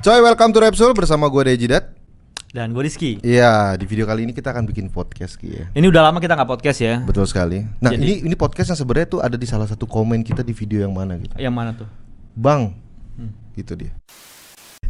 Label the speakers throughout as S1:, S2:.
S1: Coy, welcome to Repsol bersama gue Dejidat.
S2: Dan gue Rizky.
S1: Iya, di video kali ini kita akan bikin podcast Ki, ya.
S2: Ini udah lama kita nggak podcast ya.
S1: Betul sekali. Nah,
S2: Jadi-
S1: ini ini podcast yang sebenarnya tuh ada di salah satu komen kita di video yang mana gitu.
S2: Yang mana tuh?
S1: Bang.
S2: Hmm.
S1: Gitu dia.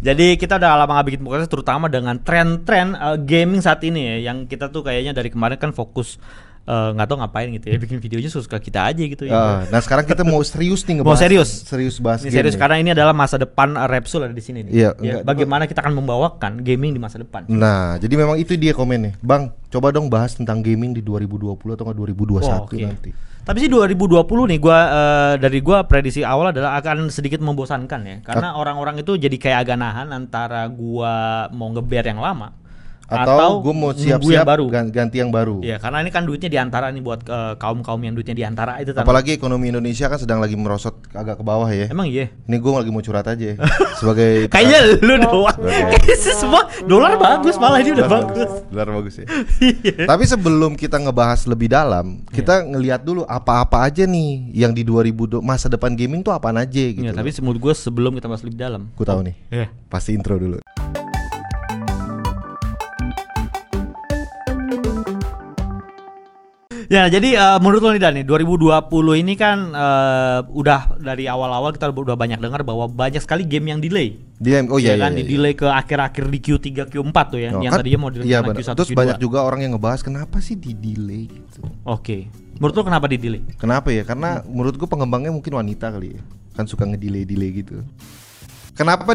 S2: Jadi kita udah lama nggak bikin podcast terutama dengan tren-tren uh, gaming saat ini ya. Yang kita tuh kayaknya dari kemarin kan fokus uh, nggak tahu ngapain gitu ya. Bikin videonya suka kita aja gitu
S1: Hmm. Ah,
S2: ya.
S1: nah, sekarang kita mau serius nih
S2: Mau
S1: ngebahas.
S2: serius?
S1: Serius bahas
S2: Ini
S1: game
S2: serius
S1: nih.
S2: karena ini adalah masa depan uh, Repsol ada di sini nih.
S1: Iya,
S2: Ya,
S1: enggak.
S2: bagaimana kita akan membawakan gaming di masa depan.
S1: Nah, jadi memang itu dia komennya. Bang, coba dong bahas tentang gaming di 2020 atau nggak 2021
S2: Wah, oke.
S1: nanti.
S2: Tapi sih 2020 nih gua eh, dari gua prediksi awal adalah akan sedikit membosankan ya. Karena orang-orang itu jadi kayak agak nahan antara gua mau ngeber yang lama
S1: Atau, gue mau
S2: nunggu
S1: siap-siap
S2: yang baru.
S1: gan- ganti yang baru.
S2: Iya, karena ini kan duitnya diantara nih buat eh, kaum-kaum yang duitnya diantara itu Tan.
S1: Apalagi ekonomi Indonesia kan sedang lagi merosot agak ke bawah ya.
S2: Emang iya.
S1: Ini gue lagi mau curhat aja ya, sebagai
S2: Kayaknya lu doang. Kayaknya sih semua dolar bagus malah ini udah bagus.
S1: Luar bagus ya. Tapi sebelum kita ngebahas lebih dalam,
S2: Iya.
S1: kita ngelihat dulu apa-apa aja nih yang di 2000 masa depan gaming tuh apaan aja gitu.
S2: Iya,
S1: loh.
S2: tapi menurut gua sebelum kita masuk lebih dalam.
S1: Ku tahu nih.
S2: Iya.
S1: Pasti intro dulu.
S2: Ya, jadi eh, menurut lo nih Dan, nih, 2020 ini kan eh, udah dari awal-awal kita udah banyak dengar bahwa banyak sekali game yang delay.
S1: Dia oh iya,
S2: ya
S1: iya,
S2: kan
S1: iya,
S2: di delay ke akhir-akhir di Q3 Q4 tuh ya,
S1: Oh,
S2: yang
S1: kan-
S2: tadinya mau
S1: iya,
S2: direncanakan
S1: benar.
S2: Q1
S1: Terus
S2: Q2.
S1: banyak juga orang yang ngebahas kenapa sih di delay gitu.
S2: Oke. Menurut lo kenapa di delay?
S1: Kenapa ya?
S2: Iya.
S1: Karena menurut gue pengembangnya mungkin wanita kali ya. Kan suka ngedelay-delay gitu. Kenapa?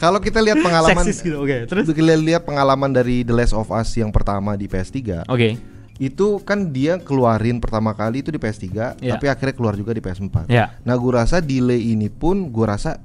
S1: Kalau kita lihat pengalaman
S2: Seksis gitu. Oke, terus
S1: Untuk kita lihat pengalaman dari The Last of Us yang pertama di PS3
S2: Oke.
S1: itu kan dia keluarin pertama kali itu di PS3
S2: Iya.
S1: tapi akhirnya keluar juga di PS4
S2: Iya.
S1: nah gue rasa delay ini pun gue rasa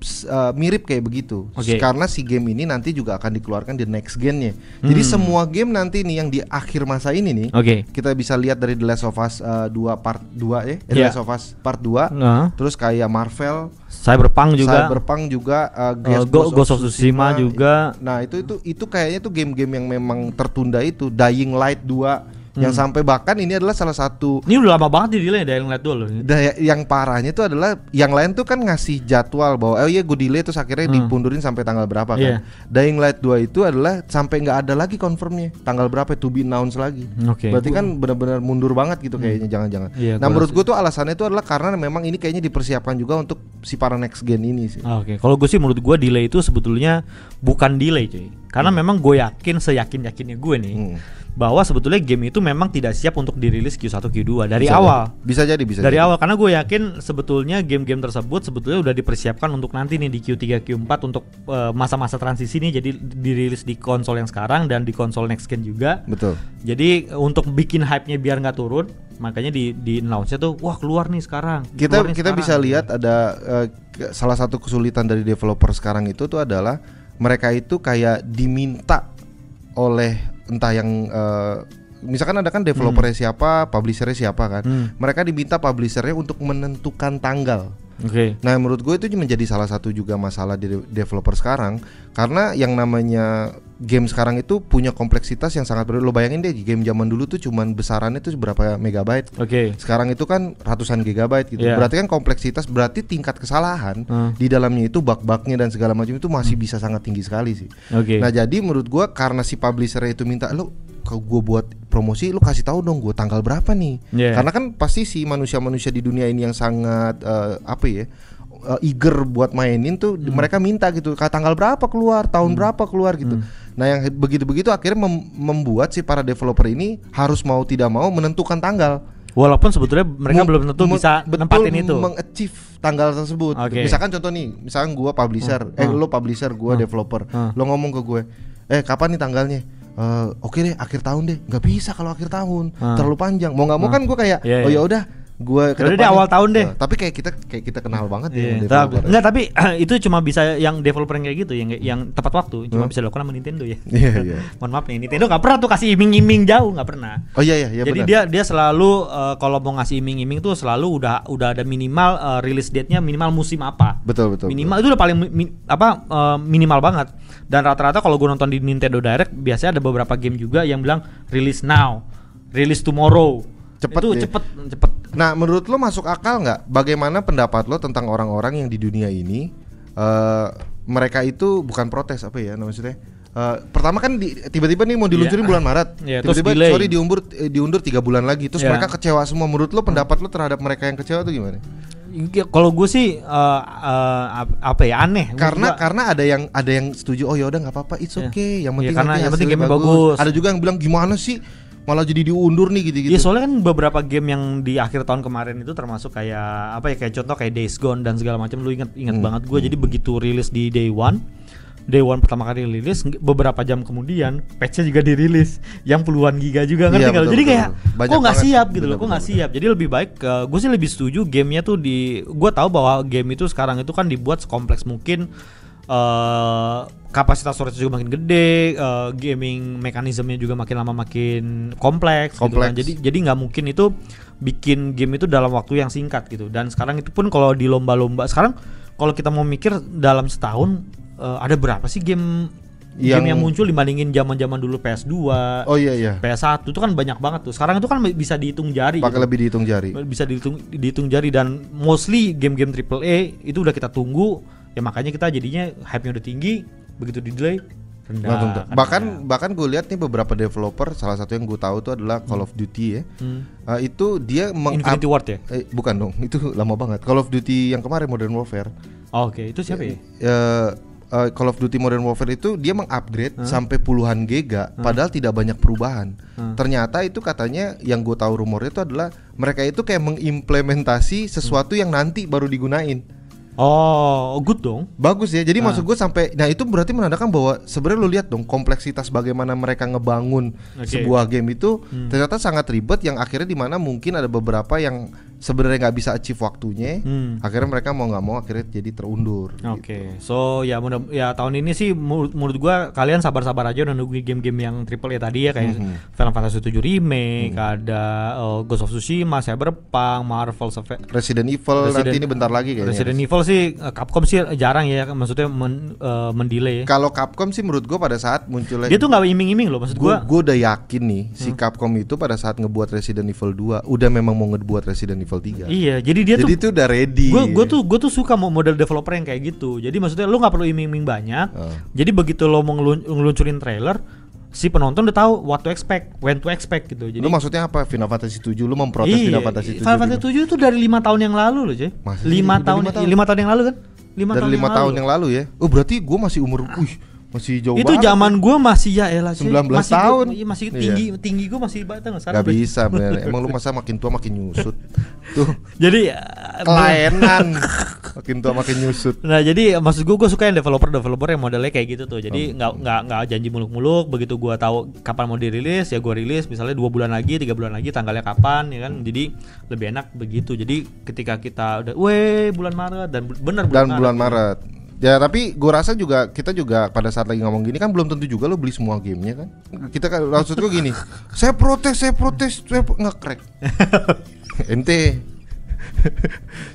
S1: s- uh, mirip kayak begitu
S2: Oke.
S1: karena si game ini nanti juga akan dikeluarkan di next gennya jadi semua game nanti nih yang di akhir masa ini nih
S2: Hmm. Oke.
S1: kita bisa lihat dari The Last of Us uh, 2 part 2 ya The
S2: Iya.
S1: Last of Us part 2
S2: Nah,
S1: terus kayak Marvel
S2: Cyberpunk juga
S1: Cyberpunk juga uh,
S2: eh, Go- Ghost of Tsushima juga.
S1: Nah, itu itu itu kayaknya tuh game-game yang memang tertunda itu Dying Light 2 yang
S2: Hmm.
S1: sampai bahkan ini adalah salah satu
S2: Ini udah lama banget di delay dari ngeliat dulu.
S1: daya yang parahnya itu adalah yang lain tuh kan ngasih jadwal bahwa oh iya gue delay terus akhirnya dipundurin sampai tanggal berapa kan.
S2: Hmm. Iya.
S1: Dying Light 2 itu adalah sampai nggak ada lagi confirmnya tanggal berapa to be announced lagi.
S2: Hmm, Oke.
S1: Berarti kan benar-benar mundur banget gitu kayaknya jangan-jangan.
S2: Iya,
S1: nah,
S2: gua
S1: menurut gue tuh alasannya itu adalah karena memang ini kayaknya dipersiapkan juga untuk si para next gen ini sih.
S2: Ah, Oke, kalau gue sih menurut gue delay itu sebetulnya bukan delay cuy Karena memang gue yakin, seyakin-yakinnya gue nih
S1: Hmm.
S2: Bahwa sebetulnya game itu memang tidak siap untuk dirilis Q1, Q2 dari
S1: Bisa
S2: awal
S1: jadi. Bisa jadi bisa
S2: Dari
S1: jadi.
S2: awal, karena gue yakin sebetulnya game-game tersebut sebetulnya udah dipersiapkan untuk nanti nih di Q3, Q4 Untuk eh, masa-masa transisi nih jadi dirilis di konsol yang sekarang dan di konsol next gen juga
S1: Betul.
S2: Jadi eh, untuk bikin hype-nya biar nggak turun Makanya di, di announce-nya tuh, wah keluar nih sekarang
S1: kita kita
S2: keluar nih sekarang. gitu ya.
S1: bisa lihat ada eh, ke- salah satu kesulitan dari developer sekarang itu tuh adalah mereka itu kayak diminta oleh entah yang eh, misalkan ada kan developernya siapa, publishernya siapa kan.
S2: Hmm.
S1: Mereka diminta publishernya untuk menentukan tanggal.
S2: Oke,
S1: Nah, menurut gue itu menjadi salah satu juga masalah di de- developer sekarang karena yang namanya game sekarang itu punya kompleksitas yang sangat berbeda. Lo bayangin deh game zaman dulu tuh cuman besarannya tuh berapa megabyte.
S2: oke
S1: Sekarang itu kan ratusan gigabyte gitu.
S2: Iya.
S1: Berarti kan kompleksitas berarti tingkat kesalahan
S2: Hmm.
S1: di dalamnya itu bug-bugnya dan segala macam itu masih bisa sangat tinggi sekali sih.
S2: Oke.
S1: Nah, jadi menurut gua karena si publisher itu minta lo kalau gua buat promosi lu kasih tahu dong gua tanggal berapa nih.
S2: Iya.
S1: Karena kan pasti si manusia-manusia di dunia ini yang sangat eh, apa ya? eh, eager buat mainin tuh
S2: Hmm.
S1: mereka minta gitu "Kak, tanggal berapa keluar tahun berapa keluar gitu
S2: Hmm.
S1: nah yang begitu begitu akhirnya mem- membuat si para developer ini harus mau tidak mau menentukan tanggal
S2: Walaupun sebetulnya mereka
S1: Mem-
S2: belum tentu
S1: me-
S2: bisa
S1: betul
S2: nempatin itu.
S1: mengachieve tanggal tersebut.
S2: Oke. Hmm.
S1: Misalkan contoh nih, misalkan gua publisher, eh lo publisher, gua developer. Lo ngomong ke gue, "Eh, kapan nih tanggalnya?" "Eh, oke deh, akhir tahun deh. nggak bisa kalau akhir tahun.
S2: Ah.
S1: Terlalu panjang. Mau nggak mau kan gua kayak,
S2: Iya,
S1: "Oh
S2: iya.
S1: ya udah, gua ke
S2: Yaudah deh,
S1: depannya."
S2: awal tahun deh.
S1: Eh, tapi kayak kita kayak kita kenal banget ya
S2: Iya,
S1: sama
S2: tapi,
S1: developer.
S2: enggak tapi itu cuma bisa yang developer yang kayak gitu yang yang tepat waktu cuma bisa dilakukan sama Nintendo ya.
S1: Hmm. Iya, iya.
S2: Mohon maaf nih Nintendo nggak pernah tuh kasih iming-iming jauh nggak pernah.
S1: Oh iya iya iya
S2: Jadi
S1: benar.
S2: dia dia selalu eh, kalau mau ngasih iming-iming tuh selalu udah udah ada minimal eh, release date-nya minimal musim apa.
S1: betul betul.
S2: minimal itu udah paling mi- mi- apa eh, minimal banget dan rata-rata kalau gue nonton di Nintendo Direct biasanya ada beberapa game juga yang bilang release now release tomorrow
S1: Cepet
S2: itu
S1: ya.
S2: cepet cepet
S1: Nah, menurut lo masuk akal nggak? Bagaimana pendapat lo tentang orang-orang yang di dunia ini eh, mereka itu bukan protes apa ya maksudnya? Eh, pertama kan di- tiba-tiba nih mau diluncurin
S2: Iya.
S1: bulan Maret,
S2: Iya, terus
S1: tiba-tiba
S2: delay.
S1: sorry diundur eh, diundur tiga bulan lagi, terus
S2: Iya.
S1: mereka kecewa semua. Menurut lo pendapat lo terhadap mereka yang kecewa tuh gimana?
S2: Ya, Kalau gue sih eh, eh, ap- apa ya aneh.
S1: karena
S2: Gua-
S1: karena ada yang ada yang setuju oh yaudah nggak apa-apa it's
S2: Iya.
S1: okay yang
S2: Iya,
S1: penting
S2: karena
S1: nanti
S2: yang penting
S1: hasilnya
S2: gamenya bagus.
S1: ada juga yang bilang gimana sih malah jadi diundur nih gitu-gitu
S2: Ya soalnya kan beberapa game yang di akhir tahun kemarin itu termasuk kayak apa ya kayak contoh kayak Days Gone dan segala macam lu inget inget
S1: Hmm.
S2: banget gue jadi begitu rilis di Day One Day One pertama kali rilis nge- beberapa jam kemudian patchnya juga dirilis yang puluhan giga juga ngerti
S1: Iya,
S2: nggak lu?
S1: betul,
S2: jadi
S1: betul,
S2: kayak
S1: betul. Banyak
S2: kok nggak
S1: banget.
S2: siap gitu loh
S1: Betul,
S2: kok nggak
S1: betul,
S2: siap jadi lebih baik gue sih lebih setuju gamenya tuh di gue tahu bahwa game itu sekarang itu kan dibuat sekompleks mungkin eh kapasitas storage juga makin gede, eh, gaming mekanismenya juga makin lama makin kompleks, gitu
S1: Kompleks.
S2: kan. Jadi jadi nggak mungkin itu bikin game itu dalam waktu yang singkat gitu. Dan sekarang itu pun kalau di lomba-lomba sekarang kalau kita mau mikir dalam setahun eh, ada berapa sih game game
S1: Yang-
S2: yang muncul dibandingin zaman-zaman dulu PS2,
S1: oh iya iya
S2: PS1 itu kan banyak banget tuh. Sekarang itu kan bisa dihitung jari.
S1: pakai
S2: gitu
S1: lebih dihitung jari
S2: bisa dihitung dihitung jari dan mostly game-game AAA itu udah kita tunggu ya makanya kita jadinya hype-nya udah tinggi begitu di delay rendah
S1: Langsung tuh.
S2: katanya.
S1: bahkan bahkan gue lihat nih beberapa developer salah satu yang gue tahu tuh adalah Call of Duty ya
S2: Hmm.
S1: Eh, itu dia meng
S2: Infinity Ward ya
S1: eh, bukan dong itu lama banget Call of Duty yang kemarin Modern Warfare
S2: Oh, oke itu siapa ya
S1: eh eh, Call of Duty Modern Warfare itu dia mengupgrade sampai puluhan giga, padahal tidak banyak perubahan. Ternyata itu katanya yang gue tahu rumornya itu adalah mereka itu kayak mengimplementasi sesuatu
S2: Hmm.
S1: yang nanti baru digunain.
S2: oh good dong
S1: Bagus ya. Jadi
S2: Ah.
S1: maksud gue sampai nah itu berarti menandakan bahwa sebenarnya lu lihat dong kompleksitas bagaimana mereka ngebangun
S2: Oke. Hmm.
S1: sebuah game itu ternyata sangat ribet yang akhirnya di mana mungkin ada beberapa yang sebenarnya nggak bisa achieve waktunya.
S2: Hmm. Ah.
S1: Akhirnya mereka mau nggak mau akhirnya jadi terundur. gitu.
S2: oke so ya mudah ya tahun ini sih menurut, menurut gua kalian sabar-sabar aja udah nunggu game-game yang AAA tadi ya kayak
S1: Mm-hmm.
S2: Final Fantasy 7 remake ada eh, Ghost of Tsushima Cyberpunk Marvel
S1: Resident Evil nanti
S2: Resident-
S1: ini bentar lagi kayaknya.
S2: Resident Evil sih eh, Capcom sih jarang ya maksudnya men, eh, mendelay ya.
S1: Kalau Capcom sih menurut gua pada saat munculnya
S2: Dia tuh nggak iming-iming loh
S1: gua
S2: maksud Gitu, gua. Hmm.
S1: gua udah yakin nih si Capcom itu pada saat ngebuat Resident Evil 2 udah memang mau ngebuat Resident Evil 3.
S2: Iya, jadi dia
S1: Jadi
S2: tuh
S1: itu udah ready.
S2: gua gua tuh gua tuh suka mo- model developer yang kayak gitu. Jadi maksudnya lu nggak perlu iming-iming banyak.
S1: Heeh.
S2: Jadi begitu lo mau ngelun- ngeluncurin trailer, si penonton udah tahu what to expect, when to expect gitu. Jadi
S1: Lu maksudnya apa? Final Fantasy 7 lu memprotes
S2: iya,
S1: Final Fantasy gitu? 7.
S2: Final Fantasy 7 itu dari lima tahun yang lalu loh, Jay.
S1: Masa sih?
S2: Lima
S1: Udah
S2: tahun,
S1: lima tahun?
S2: lima tahun yang lalu kan? Lima
S1: Dari 5 tahun yang lalu ya. Oh berarti gua masih umur wih, masih jauh
S2: itu
S1: banget.
S2: zaman gua masih ya elah Jay.
S1: 19
S2: masih gua-
S1: tahun.
S2: iya, masih
S1: Iya.
S2: tinggi tinggi gua masih batang
S1: Gak bisa bener. Emang lu masa makin tua makin nyusut. Tuh,
S2: Jadi eh,
S1: Ah. kelaenan. makin tua makin nyusut.
S2: Nah jadi maksud gue gue suka yang developer developer yang modelnya kayak gitu
S1: Oh.
S2: tuh. Jadi nggak nggak nggak janji muluk-muluk. Begitu gue tahu kapan mau dirilis ya gue rilis. Misalnya dua bulan lagi, tiga bulan lagi tanggalnya kapan ya kan. Jadi lebih enak begitu. Jadi ketika kita udah, weh bulan Maret dan bu- bener
S1: dan bulan Maret. Ya tapi gue rasa juga kita juga pada saat lagi ngomong gini kan belum tentu juga lo beli semua gamenya kan. Kita kan maksud gue gini, saya protes, saya protes, saya pro- ngekrek. Ente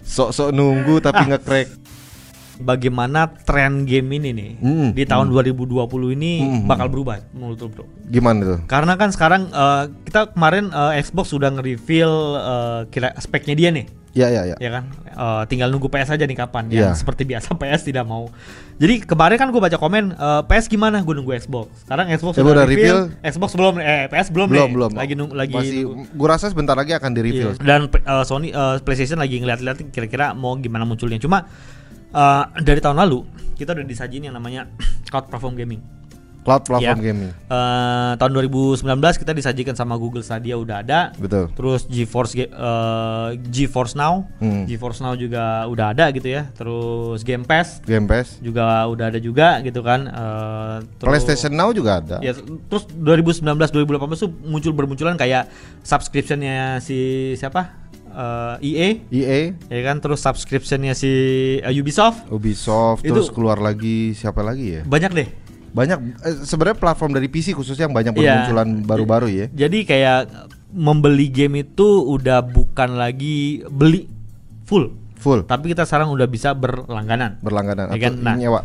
S1: sok-sok nunggu tapi
S2: Nah.
S1: ngekrek.
S2: Bagaimana tren game ini nih
S1: Hmm.
S2: di tahun 2020 ini
S1: Hmm.
S2: bakal berubah menurut lu, bro?
S1: Gimana tuh?
S2: Karena kan sekarang eh, kita kemarin eh, Xbox sudah nge-reveal eh, kira speknya dia nih.
S1: Ya ya ya.
S2: ya kan Eh, tinggal nunggu PS aja nih kapan
S1: Iya.
S2: ya seperti biasa PS tidak mau jadi kemarin kan gue baca komen eh, PS gimana gue nunggu Xbox sekarang
S1: Ya,
S2: Xbox sudah
S1: udah
S2: reveal, Xbox belum eh PS belum
S1: Belum
S2: nih.
S1: belum.
S2: lagi nung lagi
S1: Masih
S2: nunggu.
S1: gue rasa sebentar lagi akan di reveal.
S2: Iya. dan eh, Sony eh, PlayStation lagi ngeliat-liat kira-kira mau gimana munculnya cuma eh, dari tahun lalu kita udah disajin yang namanya cloud platform gaming
S1: Cloud platform
S2: Iya.
S1: gaming.
S2: Eh, tahun 2019 kita disajikan sama Google Stadia udah ada
S1: Betul.
S2: terus GeForce Ga- eh, GeForce Now,
S1: Hmm.
S2: GeForce Now juga udah ada gitu ya. Terus Game Pass
S1: Game Pass.
S2: juga udah ada juga gitu kan. Eh, terus-
S1: PlayStation Now juga ada.
S2: Ya, terus 2019 2018 tuh muncul bermunculan kayak subscriptionnya si siapa? Eh, EA
S1: EA,
S2: ya kan terus subscriptionnya si eh, Ubisoft
S1: Ubisoft,
S2: Itu-
S1: terus keluar lagi siapa lagi ya?
S2: banyak deh
S1: banyak eh, sebenarnya platform dari PC khususnya yang banyak
S2: Iya.
S1: bermunculan baru-baru ya.
S2: Jadi kayak membeli game itu udah bukan lagi beli full,
S1: Full
S2: tapi kita sekarang udah bisa berlangganan.
S1: berlangganan
S2: Ya kan?
S1: atau
S2: Nah.
S1: nyewa.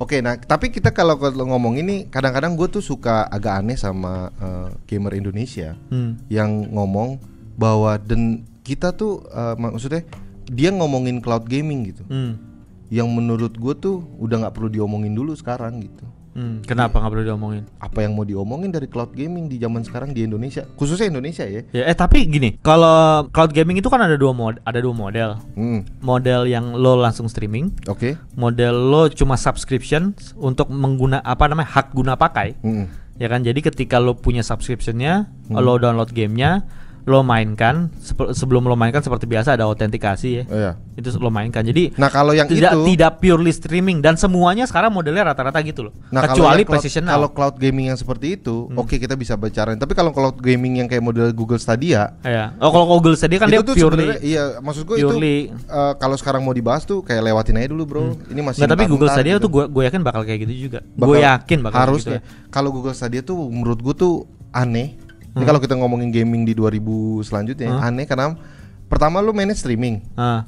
S1: Oke, nah tapi kita kalau kalau ngomong ini kadang-kadang gue tuh suka agak aneh sama eh, gamer Indonesia
S2: Hmm.
S1: yang ngomong bahwa dan kita tuh eh, maksudnya dia ngomongin cloud gaming gitu.
S2: Hmm.
S1: yang menurut gue tuh udah nggak perlu diomongin dulu sekarang gitu.
S2: Hmm, kenapa nggak perlu diomongin?
S1: Apa yang mau diomongin dari cloud gaming di zaman sekarang di Indonesia, khususnya Indonesia ya?
S2: Ya, eh tapi gini, kalau cloud gaming itu kan ada dua mod, ada dua model.
S1: Hmm,
S2: Model yang lo langsung streaming,
S1: oke.
S2: model lo cuma subscription untuk mengguna apa namanya hak guna pakai.
S1: Hmm,
S2: ya kan jadi ketika lo punya subscriptionnya lo download gamenya lo mainkan Sepe- sebelum lo mainkan seperti biasa ada autentikasi ya
S1: oh ya.
S2: itu lo mainkan jadi
S1: Nah kalau yang
S2: tidak
S1: itu,
S2: tidak purely streaming dan semuanya sekarang modelnya rata-rata gitu loh
S1: nah kalau yang
S2: kecuali Hmm.
S1: cloud-
S2: PlayStation Now
S1: kalau cloud gaming yang seperti itu, oke kita bisa bicarain. Tapi kalau cloud gaming yang kayak model Google Stadia,
S2: ya oh kalau Google Stadia kan dia
S1: itu tuh sebenarnya,
S2: purely
S1: iya maksud gue itu
S2: purely Hmm.
S1: eh, kalau sekarang mau dibahas tuh kayak lewatin aja dulu bro. Ini masih.
S2: nggak tapi
S1: mentar-mentar
S2: Google Stadia
S1: gitu.
S2: tuh gue gue yakin bakal kayak gitu juga
S1: Bakal-
S2: gue yakin bakal
S1: harus
S2: gitu
S1: deh. Kalau Google Stadia tuh menurut gue tuh aneh.
S2: Hmm.
S1: Ini kalau kita ngomongin gaming di 2000 selanjutnya aneh karena pertama lu mainnya streaming,
S2: Ah,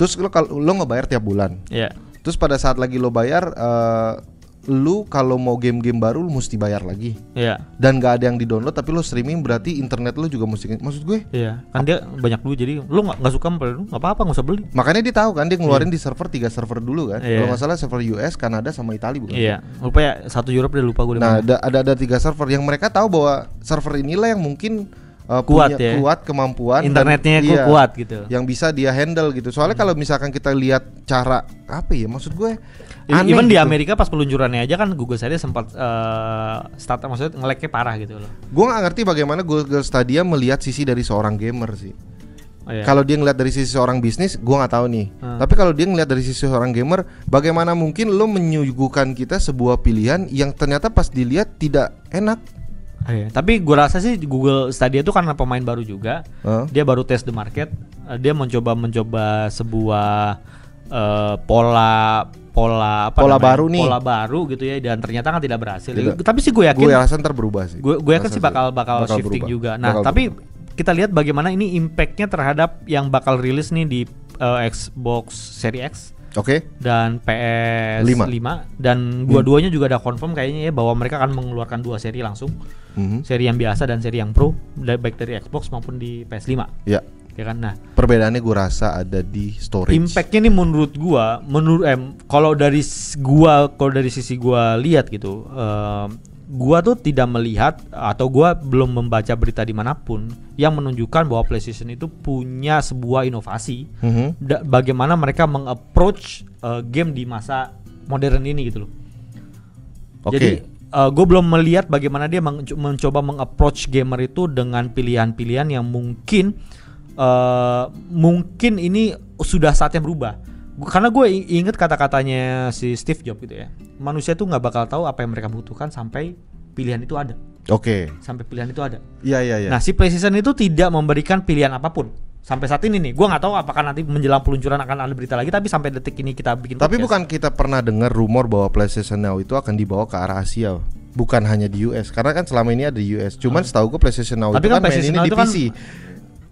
S1: terus lu kalau lu ngebayar tiap bulan.
S2: ya
S1: Terus pada saat lagi lo bayar eh, lu kalau mau game-game baru lu mesti bayar lagi.
S2: ya
S1: Dan gak ada yang di-download tapi lu streaming berarti internet lu juga mesti maksud gue
S2: Iya, kan dia banyak dulu jadi lu nggak nggak suka nggak apa-apa nggak usah beli.
S1: Makanya dia tahu kan dia ngeluarin di server tiga server dulu kan.
S2: Iya.
S1: Kalau nggak salah server US, Kanada sama Italia bukan?
S2: Iya, lupa ya satu Europe dia lupa gue.
S1: Nah, ada, ada ada tiga server yang mereka tahu bahwa server inilah yang mungkin uh, punya
S2: Kuat ya.
S1: kuat kemampuan dan-
S2: internetnya ku-
S1: iya,
S2: kuat gitu. Hmm.
S1: yang bisa dia handle gitu. Soalnya kalau misalkan kita lihat cara apa ya maksud gue aneh
S2: Even di
S1: gitu.
S2: Amerika pas peluncurannya aja kan Google Stadia sempat eh, start maksudnya ngeleknya parah gitu loh.
S1: Gue nggak ngerti bagaimana Google Stadia melihat sisi dari seorang gamer sih.
S2: Oh, iya.
S1: Kalau dia ngelihat dari sisi seorang bisnis, gue nggak tahu nih.
S2: Hmm.
S1: Tapi kalau dia ngelihat dari sisi seorang gamer, bagaimana mungkin lo menyuguhkan kita sebuah pilihan yang ternyata pas dilihat tidak enak?
S2: Oh, iya. Tapi gue rasa sih Google Stadia itu karena pemain baru juga.
S1: Heeh.
S2: Dia baru test the market, eh, dia mencoba mencoba sebuah eh, pola pola apa
S1: Pola baru nih.
S2: Pola baru gitu ya dan ternyata kan tidak berhasil.
S1: Tidak.
S2: Tapi sih gue yakin
S1: Gue rasa ntar berubah sih.
S2: gue gue yakin
S1: Rasa
S2: sih bakal bakal, shifting
S1: berubah.
S2: juga. Nah,
S1: Bakal
S2: tapi
S1: berubah.
S2: kita lihat bagaimana ini impactnya terhadap yang bakal rilis nih di eh, Xbox Series X
S1: Oke.
S2: dan PS5
S1: Lima.
S2: dan dua-duanya juga ada confirm kayaknya ya bahwa mereka akan mengeluarkan dua seri langsung,
S1: Mhm.
S2: seri yang biasa dan seri yang Pro, da- baik dari Xbox maupun di PS5.
S1: Ya,
S2: Ya kan? Nah,
S1: perbedaannya gue rasa ada di storage.
S2: impactnya nih menurut gua menurut em kalau dari s- gua kalau dari sisi gua lihat gitu em, gua tuh tidak melihat atau gua belum membaca berita dimanapun yang menunjukkan bahwa PlayStation itu punya sebuah inovasi
S1: Mhm.
S2: da- bagaimana mereka mengapproach eh, game di masa modern ini gitu loh
S1: Oke.
S2: jadi gue belum melihat bagaimana dia meng- mencoba mengapproach gamer itu dengan pilihan-pilihan yang mungkin eh, mungkin ini sudah saatnya berubah. Gua- karena gue inget kata-katanya si Steve Jobs gitu ya. Manusia tuh nggak bakal tahu apa yang mereka butuhkan sampai pilihan itu ada,
S1: Oke.
S2: sampai pilihan itu ada.
S1: Iya iya iya.
S2: Nah, si PlayStation itu tidak memberikan pilihan apapun sampai saat ini nih. Gue nggak tahu apakah nanti menjelang peluncuran akan ada berita lagi, tapi sampai detik ini kita bikin.
S1: Tapi
S2: podcast.
S1: bukan kita pernah dengar rumor bahwa PlayStation Now itu akan dibawa ke arah Asia, bukan hanya di US. Karena kan selama ini ada di US. Cuman setahu gue PlayStation Now
S2: Ah. Tapi
S1: itu
S2: kan
S1: kan, main
S2: PlayStation
S1: ini
S2: Now
S1: di
S2: itu kan
S1: PC,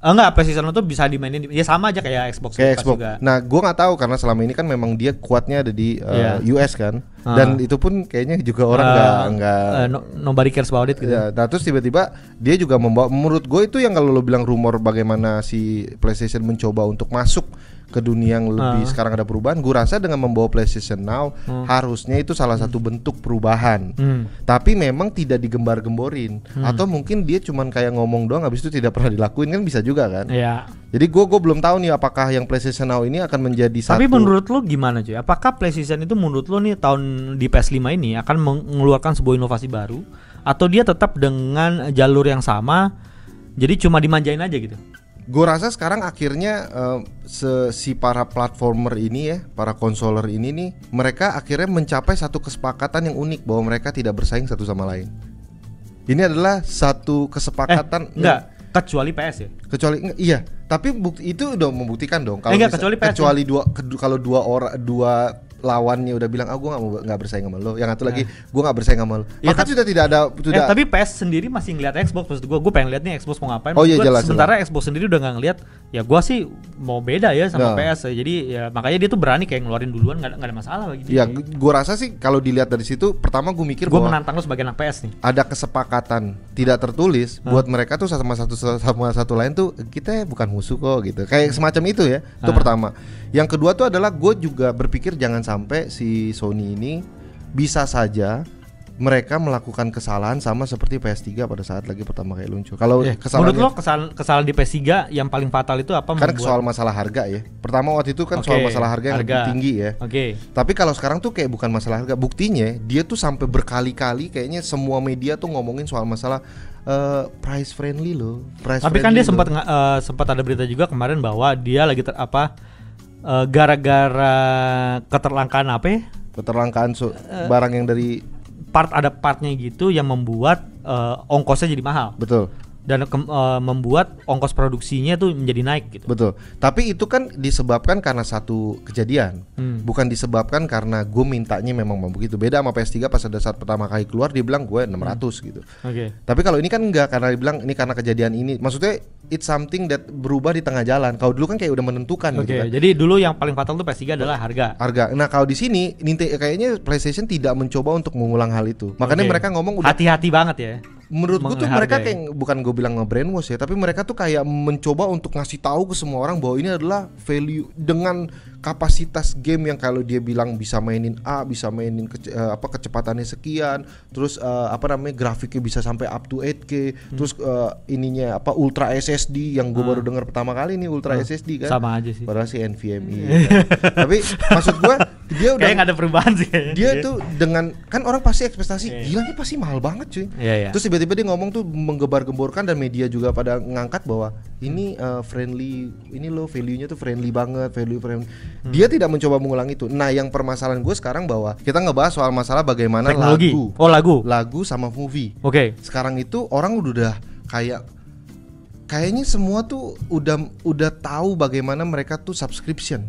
S2: Eh, enggak, PlayStation itu bisa dimainin di- ya sama aja kayak
S1: kayak
S2: Xbox Game Pass
S1: Xbox.
S2: juga.
S1: Nah, gue nggak tahu karena selama ini kan memang dia kuatnya ada di uh, US kan.
S2: Ah.
S1: Dan itu pun kayaknya juga orang
S2: Eh,
S1: nggak nggak
S2: eh, no, nobody cares about it gitu.
S1: Ya, nah terus tiba-tiba dia juga membawa menurut gue itu yang kalau lo bilang rumor bagaimana si PlayStation mencoba untuk masuk ke dunia yang lebih
S2: Ah.
S1: sekarang ada perubahan, gue rasa dengan membawa PlayStation Now harusnya itu salah satu bentuk perubahan.
S2: Hmm.
S1: Tapi memang tidak digembar-gemborin atau mungkin dia cuman kayak ngomong doang habis itu tidak pernah dilakuin kan bisa juga kan.
S2: Ya.
S1: Jadi gue gue belum tahu nih apakah yang PlayStation Now ini akan menjadi
S2: Tapi
S1: satu
S2: menurut lo gimana cuy? Apakah PlayStation itu menurut lo nih tahun di PS5 ini akan mengeluarkan sebuah inovasi baru atau dia tetap dengan jalur yang sama? Jadi cuma dimanjain aja gitu.
S1: Gue rasa sekarang akhirnya eh, se- si para platformer ini ya, para konsoler ini nih, mereka akhirnya mencapai satu kesepakatan yang unik bahwa mereka tidak bersaing satu sama lain. Ini adalah satu kesepakatan
S2: Eh, Enggak, kecuali PS ya.
S1: eh, kecuali enggak, iya, tapi bukti, itu udah membuktikan dong
S2: Eh, enggak,
S1: misa-
S2: kecuali PS.
S1: dua kedu- kalau dua orang dua lawannya udah bilang ah gue nggak mau nggak bersaing sama lo yang satu lagi gue nggak bersaing sama lo
S2: Ya,
S1: maka
S2: Nah. tapi-
S1: sudah tidak ada sudah
S2: Eh, tapi PS sendiri masih ngeliat Xbox maksud gue. Gue pengen lihat nih Xbox mau ngapain.
S1: Oh iya,
S2: Gua
S1: jelas,
S2: Sementara Xbox sendiri udah nggak ngeliat ya gua sih mau beda ya sama
S1: Nah.
S2: PS ya. jadi ya makanya dia tuh berani kayak ngeluarin duluan nggak ada- nggak ada masalah lagi
S1: Ya, gue rasa sih kalau dilihat dari situ, pertama gue mikir
S2: gue
S1: bahwa
S2: menantang lu sebagai anak PS nih
S1: ada kesepakatan tidak tertulis buat mereka tuh sama satu sama satu lain tuh kita bukan musuh kok gitu
S2: Hmm.
S1: kayak semacam itu ya itu
S2: Ah.
S1: pertama yang kedua tuh adalah gue juga berpikir jangan sampai si Sony ini bisa saja mereka melakukan kesalahan sama seperti PS3 pada saat lagi pertama kali luncur kalau
S2: Eh, menurut lo
S1: kesalahannya
S2: kesalahan kesalahan di PS3 yang paling fatal itu apa
S1: kan soal masalah harga ya pertama waktu itu kan soal
S2: Oke,
S1: masalah harga yang
S2: harga.
S1: lebih tinggi ya
S2: oke
S1: tapi kalau sekarang tuh kayak bukan masalah harga. Buktinya dia tuh sampai berkali-kali kayaknya semua media tuh ngomongin soal masalah eh, price friendly loh. Price
S2: Tapi kan dia
S1: friendly
S2: sempat
S1: loh.
S2: nga- eh, sempat ada berita juga kemarin bahwa dia lagi ter, apa eh, gara-gara keterlangkaan apa ya?
S1: keterlangkaan so-
S2: Eh.
S1: barang yang dari
S2: part ada partnya gitu yang membuat eh, ongkosnya jadi mahal
S1: betul.
S2: dan kem- eh, membuat ongkos produksinya tuh menjadi naik gitu.
S1: Betul. Tapi itu kan disebabkan karena satu kejadian,
S2: Hmm.
S1: bukan disebabkan karena gue mintanya memang mau begitu. Beda sama PS3 pas ada saat pertama kali keluar dia bilang
S2: Hmm.
S1: gue 600 gitu.
S2: Oke.
S1: Tapi kalau ini kan enggak karena dibilang ini karena kejadian ini. Maksudnya it's something that berubah di tengah jalan. Kalau dulu kan kayak udah menentukan
S2: Oke,
S1: gitu kan.
S2: jadi dulu yang paling fatal tuh PS3 adalah harga.
S1: harga. Nah kalau di sini Ninte- kayaknya PlayStation tidak mencoba untuk mengulang hal itu. Makanya
S2: Oke.
S1: mereka ngomong udah.
S2: Hati-hati banget ya.
S1: Menurut gue tuh
S2: Menghargai.
S1: mereka kayak bukan gue bilang nge-brainwash ya, tapi mereka tuh kayak mencoba untuk ngasih tahu ke semua orang bahwa ini adalah value dengan kapasitas game yang kalau dia bilang bisa mainin A, bisa mainin kece- eh, apa kecepatannya sekian, terus eh, apa namanya grafiknya bisa sampai up to 8K,
S2: Hmm.
S1: terus eh, ininya apa ultra SSD yang gue baru dengar pertama kali nih ultra SSD kan.
S2: Ah. Sama aja sih.
S1: Padahal sih NVMe. kan. Tapi maksud gue dia udah
S2: Kayaknya nggak ada perubahan sih. kayaknya.
S1: dia tuh dengan kan orang pasti ekspektasi
S2: Iya.
S1: gila nih pasti mahal banget cuy.
S2: Iya, iya.
S1: Terus tiba-tiba dia ngomong tuh menggebar-gemborkan dan media juga pada ngangkat bahwa ini eh, friendly, ini loh value-nya tuh friendly banget, value friendly. Dia tidak mencoba mengulang itu. Nah, yang permasalahan gue sekarang bahwa kita ngebahas soal masalah bagaimana
S2: teknologi.
S1: lagu,
S2: Oh, lagu.
S1: lagu sama movie.
S2: Oke.
S1: Sekarang itu orang udah kayak kayaknya semua tuh udah udah tahu bagaimana mereka tuh subscription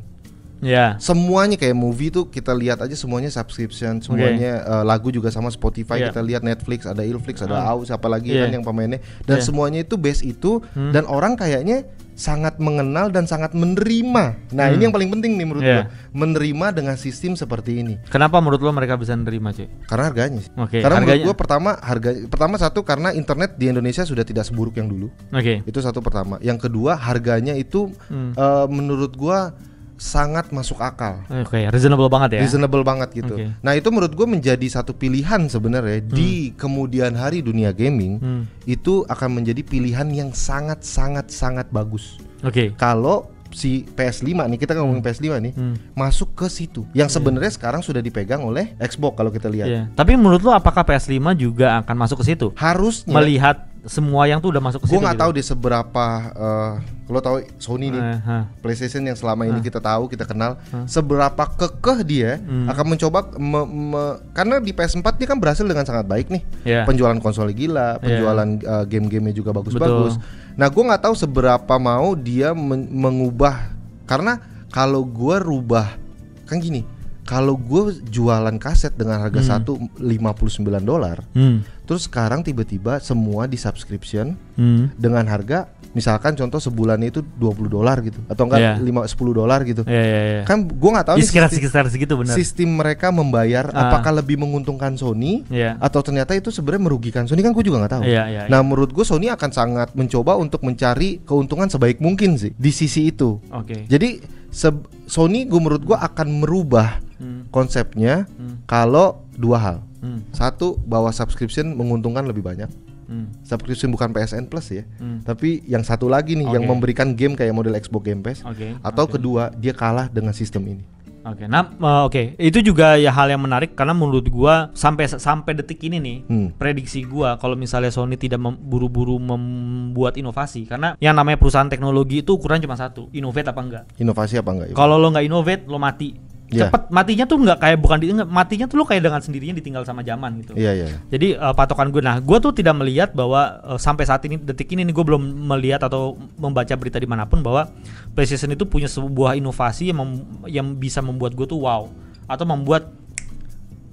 S2: Ya.
S1: semuanya kayak movie tuh kita lihat aja semuanya subscription semuanya eh, lagu juga sama Spotify
S2: Iya.
S1: kita lihat Netflix ada Ilflix ada
S2: Ah.
S1: Aus apa lagi
S2: Iya.
S1: kan yang pemainnya dan
S2: Iya. Hmm.
S1: semuanya itu base itu dan orang kayaknya sangat mengenal dan sangat menerima nah ini yang paling penting nih menurut
S2: Iya.
S1: gua menerima dengan sistem seperti ini
S2: Kenapa menurut lo mereka bisa nerima, cuy?
S1: karena harganya sih.
S2: Oke,
S1: karena
S2: harganya-
S1: menurut gua pertama harga pertama satu karena internet di Indonesia sudah tidak seburuk yang dulu
S2: Oke.
S1: itu satu pertama yang kedua harganya itu
S2: Hmm.
S1: eh, menurut gua sangat masuk akal
S2: Oke, reasonable banget ya.
S1: reasonable banget gitu.
S2: Oke.
S1: Nah itu menurut gue menjadi satu pilihan sebenarnya di kemudian hari dunia gaming
S2: Hmm.
S1: itu akan menjadi pilihan yang sangat sangat sangat bagus.
S2: Oke.
S1: Kalau si PS5 nih kita ngomongin PS5 nih
S2: Hmm.
S1: masuk ke situ yang sebenarnya sekarang sudah dipegang oleh Xbox kalau kita lihat.
S2: Iya. Tapi menurut lo apakah PS5 juga akan masuk ke situ?
S1: Harusnya
S2: Melihat semua yang tuh udah masuk ke
S1: gue
S2: situ.
S1: nggak
S2: gitu?
S1: tahu deh seberapa eh, lo tahu Sony nih
S2: Eh, hah.
S1: PlayStation yang selama ini kita tahu, kita kenal, seberapa kekeh dia
S2: Hmm.
S1: akan mencoba me- me- karena di PS4 dia kan berhasil dengan sangat baik nih.
S2: Iya.
S1: Penjualan konsol
S2: Ya.
S1: gila, penjualan uh, game-gamenya juga bagus-bagus. Nah, gua nggak tahu seberapa mau dia men- mengubah karena kalau gua rubah kan gini, kalau gue jualan kaset dengan harga satu 159 dolar,
S2: Hmm.
S1: terus sekarang tiba-tiba semua di subscription
S2: Hmm.
S1: dengan harga misalkan contoh sebulannya itu 20 dolar gitu atau enggak
S2: Iya.
S1: 5 10 dolar gitu.
S2: Iya, iya, iya.
S1: Kan gua nggak tahu
S2: Di
S1: nih
S2: sekitar
S1: sistem,
S2: sekitar segitu benar.
S1: sistem mereka membayar
S2: Ah.
S1: apakah lebih menguntungkan Sony
S2: Iya.
S1: atau ternyata itu sebenarnya merugikan Sony kan gue juga nggak tahu.
S2: Iya, iya,
S1: Nah, menurut gue Sony akan sangat mencoba untuk mencari keuntungan sebaik mungkin sih di sisi itu.
S2: Oke.
S1: Jadi se- Sony gue menurut gua akan merubah
S2: Hmm.
S1: konsepnya
S2: Hmm.
S1: kalau dua hal.
S2: Hmm.
S1: Satu, bahwa subscription menguntungkan lebih banyak
S2: Hmm.
S1: subscription bukan PSN Plus ya,
S2: Hmm.
S1: tapi yang satu lagi nih yang
S2: Oke.
S1: memberikan game kayak model Xbox Game Pass.
S2: Oke.
S1: Atau kedua, dia kalah dengan sistem ini.
S2: Oke, nah eh, oke, itu juga ya hal yang menarik karena menurut gua sampai sampai detik ini nih
S1: Hmm.
S2: prediksi gua kalau misalnya Sony tidak mem- buru-buru membuat inovasi karena yang namanya perusahaan teknologi itu ukuran cuma satu, innovate apa enggak.
S1: Inovasi apa enggak? Ibu?
S2: Kalau lo nggak innovate, lo mati.
S1: Iya.
S2: Cepet matinya tuh nggak kayak bukan di, nggak, matinya tuh lo kayak dengan sendirinya ditinggal sama zaman gitu.
S1: Iya iya.
S2: Jadi eh, patokan gue, nah gue tuh tidak melihat bahwa eh, sampai saat ini detik ini gue belum melihat atau membaca berita dimanapun bahwa PlayStation itu punya sebuah inovasi yang mem- yang bisa membuat gue tuh wow atau membuat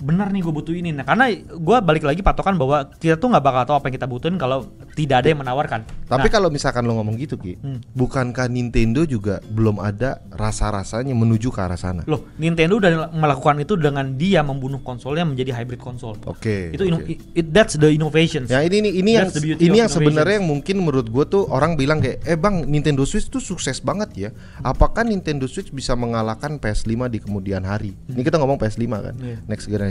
S2: benar nih gue butuh ini. Nah karena gue balik lagi patokan bahwa kita tuh nggak bakal tahu apa yang kita butuhin kalau ti- tidak ada yang menawarkan.
S1: Tapi
S2: Nah,
S1: kalau misalkan lo ngomong gitu Ki,
S2: Hmm.
S1: bukankah Nintendo juga belum ada rasa-rasanya menuju ke arah sana?
S2: loh Nintendo udah melakukan itu dengan dia membunuh konsolnya menjadi hybrid konsol.
S1: Oke.
S2: itu ino-
S1: oke.
S2: i- it, that's the innovations.
S1: Ya ini ini, ini yang
S2: That's the beauty
S1: ini
S2: of
S1: yang sebenarnya
S2: innovations.
S1: yang mungkin menurut gue tuh orang bilang kayak eh bang Nintendo Switch tuh sukses banget ya. Apakah Nintendo Switch bisa mengalahkan PS5 di kemudian hari? Ini kita ngomong PS5 kan,
S2: Hmm. Iya.
S1: next generation.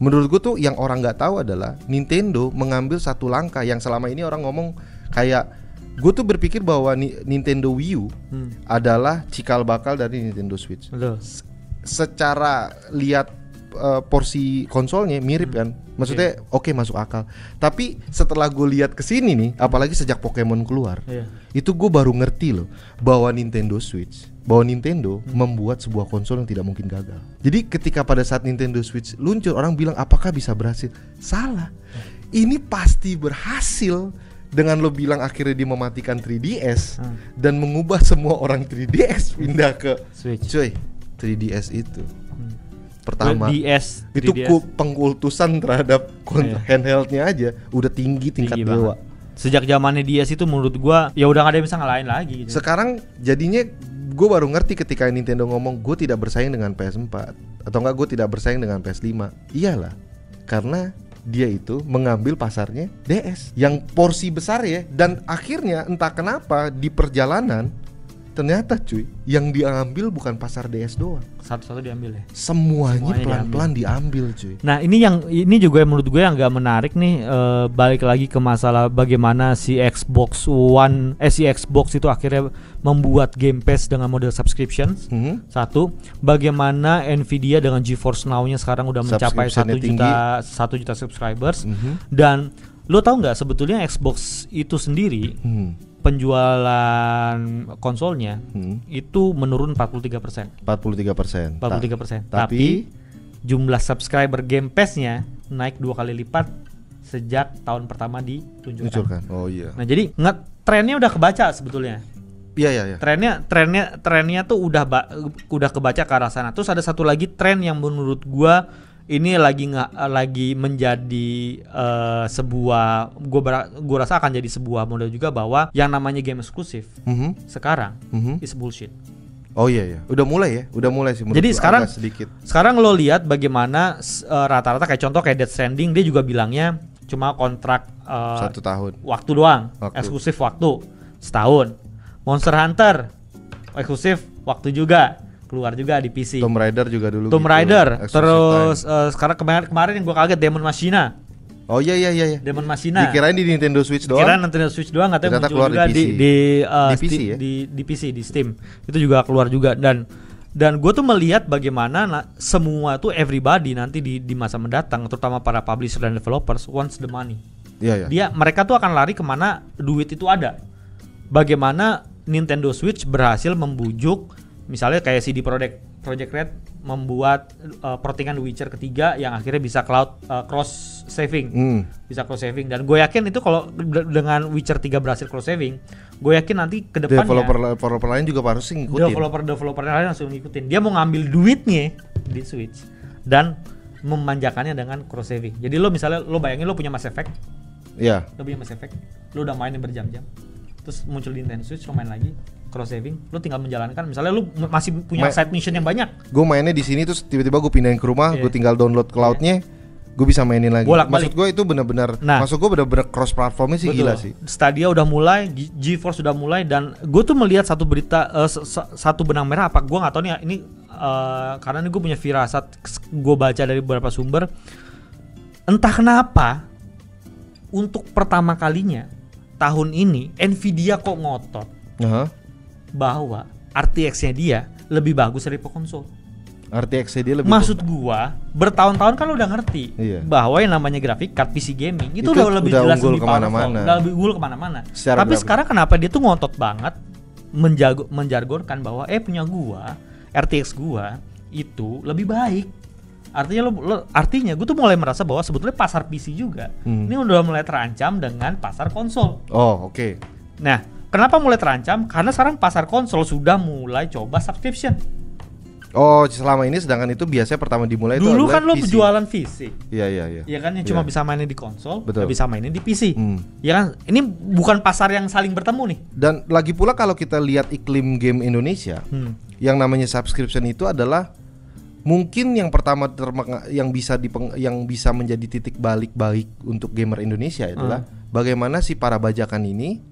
S1: Menurut gue tuh yang orang nggak tahu adalah Nintendo mengambil satu langkah yang selama ini orang ngomong kayak gue tuh berpikir bahwa Ni- Nintendo Wii U
S2: Hmm,
S1: adalah cikal bakal dari Nintendo Switch.
S2: betul.
S1: secara lihat eh, porsi konsolnya mirip
S2: Hmm.
S1: kan maksudnya
S2: Iya.
S1: oke masuk akal tapi setelah gue lihat kesini nih apalagi sejak Pokemon keluar
S2: Iya.
S1: itu gue baru ngerti loh bahwa Nintendo Switch bahwa Nintendo
S2: Hmm.
S1: membuat sebuah konsol yang tidak mungkin gagal jadi ketika pada saat Nintendo Switch luncur orang bilang apakah bisa berhasil salah
S2: Hmm.
S1: ini pasti berhasil dengan lo bilang akhirnya dia mematikan 3DS
S2: Hmm.
S1: dan mengubah semua orang 3DS pindah ke
S2: Switch.
S1: Cuy, 3DS itu
S2: Hmm.
S1: pertama
S2: DS,
S1: itu
S2: 3DS.
S1: ku- pengkultusan terhadap kon-
S2: Iya.
S1: handheldnya aja udah tinggi tingkat
S2: Tinggi
S1: dewa.
S2: banget. Sejak zamannya DS itu menurut gua ya udah gak ada yang bisa ngalahin lagi gitu.
S1: Sekarang jadinya gue baru ngerti ketika Nintendo ngomong gue tidak bersaing dengan PS4 atau enggak gue tidak bersaing dengan PS5. Iyalah, karena dia itu mengambil pasarnya DS yang porsi besar ya dan akhirnya entah kenapa di perjalanan ternyata cuy yang diambil bukan pasar DS doang
S2: Satu-satu diambil ya.
S1: semuanya,
S2: Semuanya
S1: pelan-pelan diambil cuy
S2: Nah ini yang ini juga yang menurut gue yang agak menarik nih eh, balik lagi ke masalah bagaimana si Xbox One eh si Xbox itu akhirnya membuat Game Pass dengan model subscription
S1: Hmm.
S2: satu bagaimana Nvidia dengan GeForce Now-nya sekarang udah mencapai satu
S1: Subscription-nya
S2: juta satu juta subscribers
S1: Mhm.
S2: dan lo tau nggak sebetulnya Xbox itu sendiri
S1: Hmm.
S2: penjualan konsolnya
S1: Hmm.
S2: itu menurun 43 persen
S1: 43 persen.
S2: 43 persen.
S1: Tapi-
S2: Tapi, jumlah subscriber Game Pass-nya naik dua kali lipat sejak tahun pertama diluncurkan.
S1: Luncurkan. Oh iya.
S2: Nah jadi nggak trennya udah kebaca sebetulnya.
S1: Iya iya iya.
S2: Trennya trennya trennya tuh udah ba- udah kebaca ke arah sana. Terus ada satu lagi tren yang menurut gua ini lagi nggak lagi menjadi eh, sebuah gua ber- gua rasa akan jadi sebuah model juga bahwa yang namanya game eksklusif
S1: Mhm,
S2: sekarang
S1: mhm.
S2: is bullshit.
S1: Oh iya iya. Udah mulai ya. Udah mulai sih. menurut
S2: Jadi
S1: gua.
S2: sekarang-
S1: Agak sedikit.
S2: Sekarang lo lihat bagaimana s- eh, rata-rata kayak contoh kayak Death Stranding dia juga bilangnya cuma kontrak eh,
S1: satu tahun.
S2: waktu doang,
S1: Waktu.
S2: eksklusif waktu setahun. Monster Hunter eksklusif waktu juga, keluar juga di PC.
S1: Tomb Raider juga dulu.
S2: Tomb
S1: gitu.
S2: Rider,
S1: Exclusive
S2: terus
S1: time.
S2: eh, sekarang kemarin kemarin yang gue kaget Demon Machina,
S1: Oh iya iya iya. iya.
S2: Demon Machina.
S1: Dikirain di Nintendo Switch doang.
S2: Kira nanti Switch doang katanya
S1: Ternyata
S2: muncul
S1: keluar
S2: juga
S1: di PC.
S2: di di, eh,
S1: Di PC
S2: Sti-
S1: ya?
S2: di di PC di Steam. Itu juga keluar juga dan dan gue tuh melihat bagaimana na- semua tuh everybody nanti di di masa mendatang terutama para publisher dan developers wants the money.
S1: Iya iya.
S2: Dia mereka tuh akan lari kemana duit itu ada. Bagaimana Nintendo Switch berhasil membujuk misalnya kayak CD Projekt Project Red membuat eh, pertingan Witcher ketiga yang akhirnya bisa cloud eh, cross saving
S1: Hmm.
S2: bisa cross saving dan gue yakin itu kalau de- dengan Witcher 3 berhasil cross saving gue yakin nanti ke depannya
S1: Developer developer lain juga harus sih ngikutin.
S2: developer developernya lain langsung ngikutin dia mau ngambil duitnya di Switch dan memanjakannya dengan cross saving jadi lo misalnya lo bayangin lo punya Mass Effect
S1: Iya.
S2: lo punya Mass Effect lo udah mainin berjam-jam terus muncul di Nintendo Switch lo main lagi cross saving lo tinggal menjalankan misalnya lo m- masih punya
S1: Ma-
S2: side mission yang banyak
S1: Gue mainnya di sini terus tiba-tiba gue pindahin ke rumah,
S2: Iya.
S1: gue tinggal download cloud-nya, gue bisa mainin lagi.
S2: Bolak-balik.
S1: Maksud gue itu benar-benar,
S2: Nah.
S1: maksud gue benar-benar cross platformnya sih
S2: Betul.
S1: gila sih.
S2: Stadia udah mulai, G- GeForce sudah mulai dan gue tuh melihat satu berita eh, s- s- satu benang merah apa gue nggak tahu nih ya, ini eh, karena ini gue punya firasat gue baca dari beberapa sumber entah kenapa untuk pertama kalinya tahun ini Nvidia kok ngotot
S1: Heeh.
S2: bahwa RTX-nya dia lebih bagus dari konsol.
S1: RTX-nya dia lebih
S2: Maksud gua bertahun-tahun kan lo udah ngerti
S1: Iya.
S2: bahwa yang namanya grafik card PC gaming
S1: Itu
S2: itu, udah lebih
S1: udah
S2: jelas
S1: unggul
S2: lebih powerful,
S1: kemana-mana.
S2: udah lebih unggul kemana-mana.
S1: Secara
S2: Tapi
S1: grafik.
S2: sekarang kenapa dia tuh ngotot banget menjago menjargonkan bahwa eh punya gua RTX gua itu lebih baik. Artinya lo, lo- artinya gua tuh mulai merasa bahwa sebetulnya pasar PC juga
S1: Hmm.
S2: ini udah mulai terancam dengan pasar konsol.
S1: Oh, oke.
S2: Nah, kenapa mulai terancam? Karena sekarang pasar konsol sudah mulai coba subscription.
S1: Oh, selama ini sedangkan itu biasanya pertama dimulai itu
S2: Dulu
S1: adalah
S2: kan lo
S1: PC.
S2: jualan fisik.
S1: Iya, iya, iya.
S2: Ya kan yang cuma
S1: Iya.
S2: bisa mainin di konsol,
S1: Betul.
S2: nggak bisa mainin di PC.
S1: Hmm.
S2: Ya kan ini bukan pasar yang saling bertemu nih.
S1: Dan lagi pula kalau kita lihat iklim game Indonesia,
S2: Hmm.
S1: yang namanya subscription itu adalah mungkin yang pertama termeng- yang bisa dipeng- yang bisa menjadi titik balik baik untuk gamer Indonesia adalah
S2: Hmm.
S1: bagaimana si para bajakan ini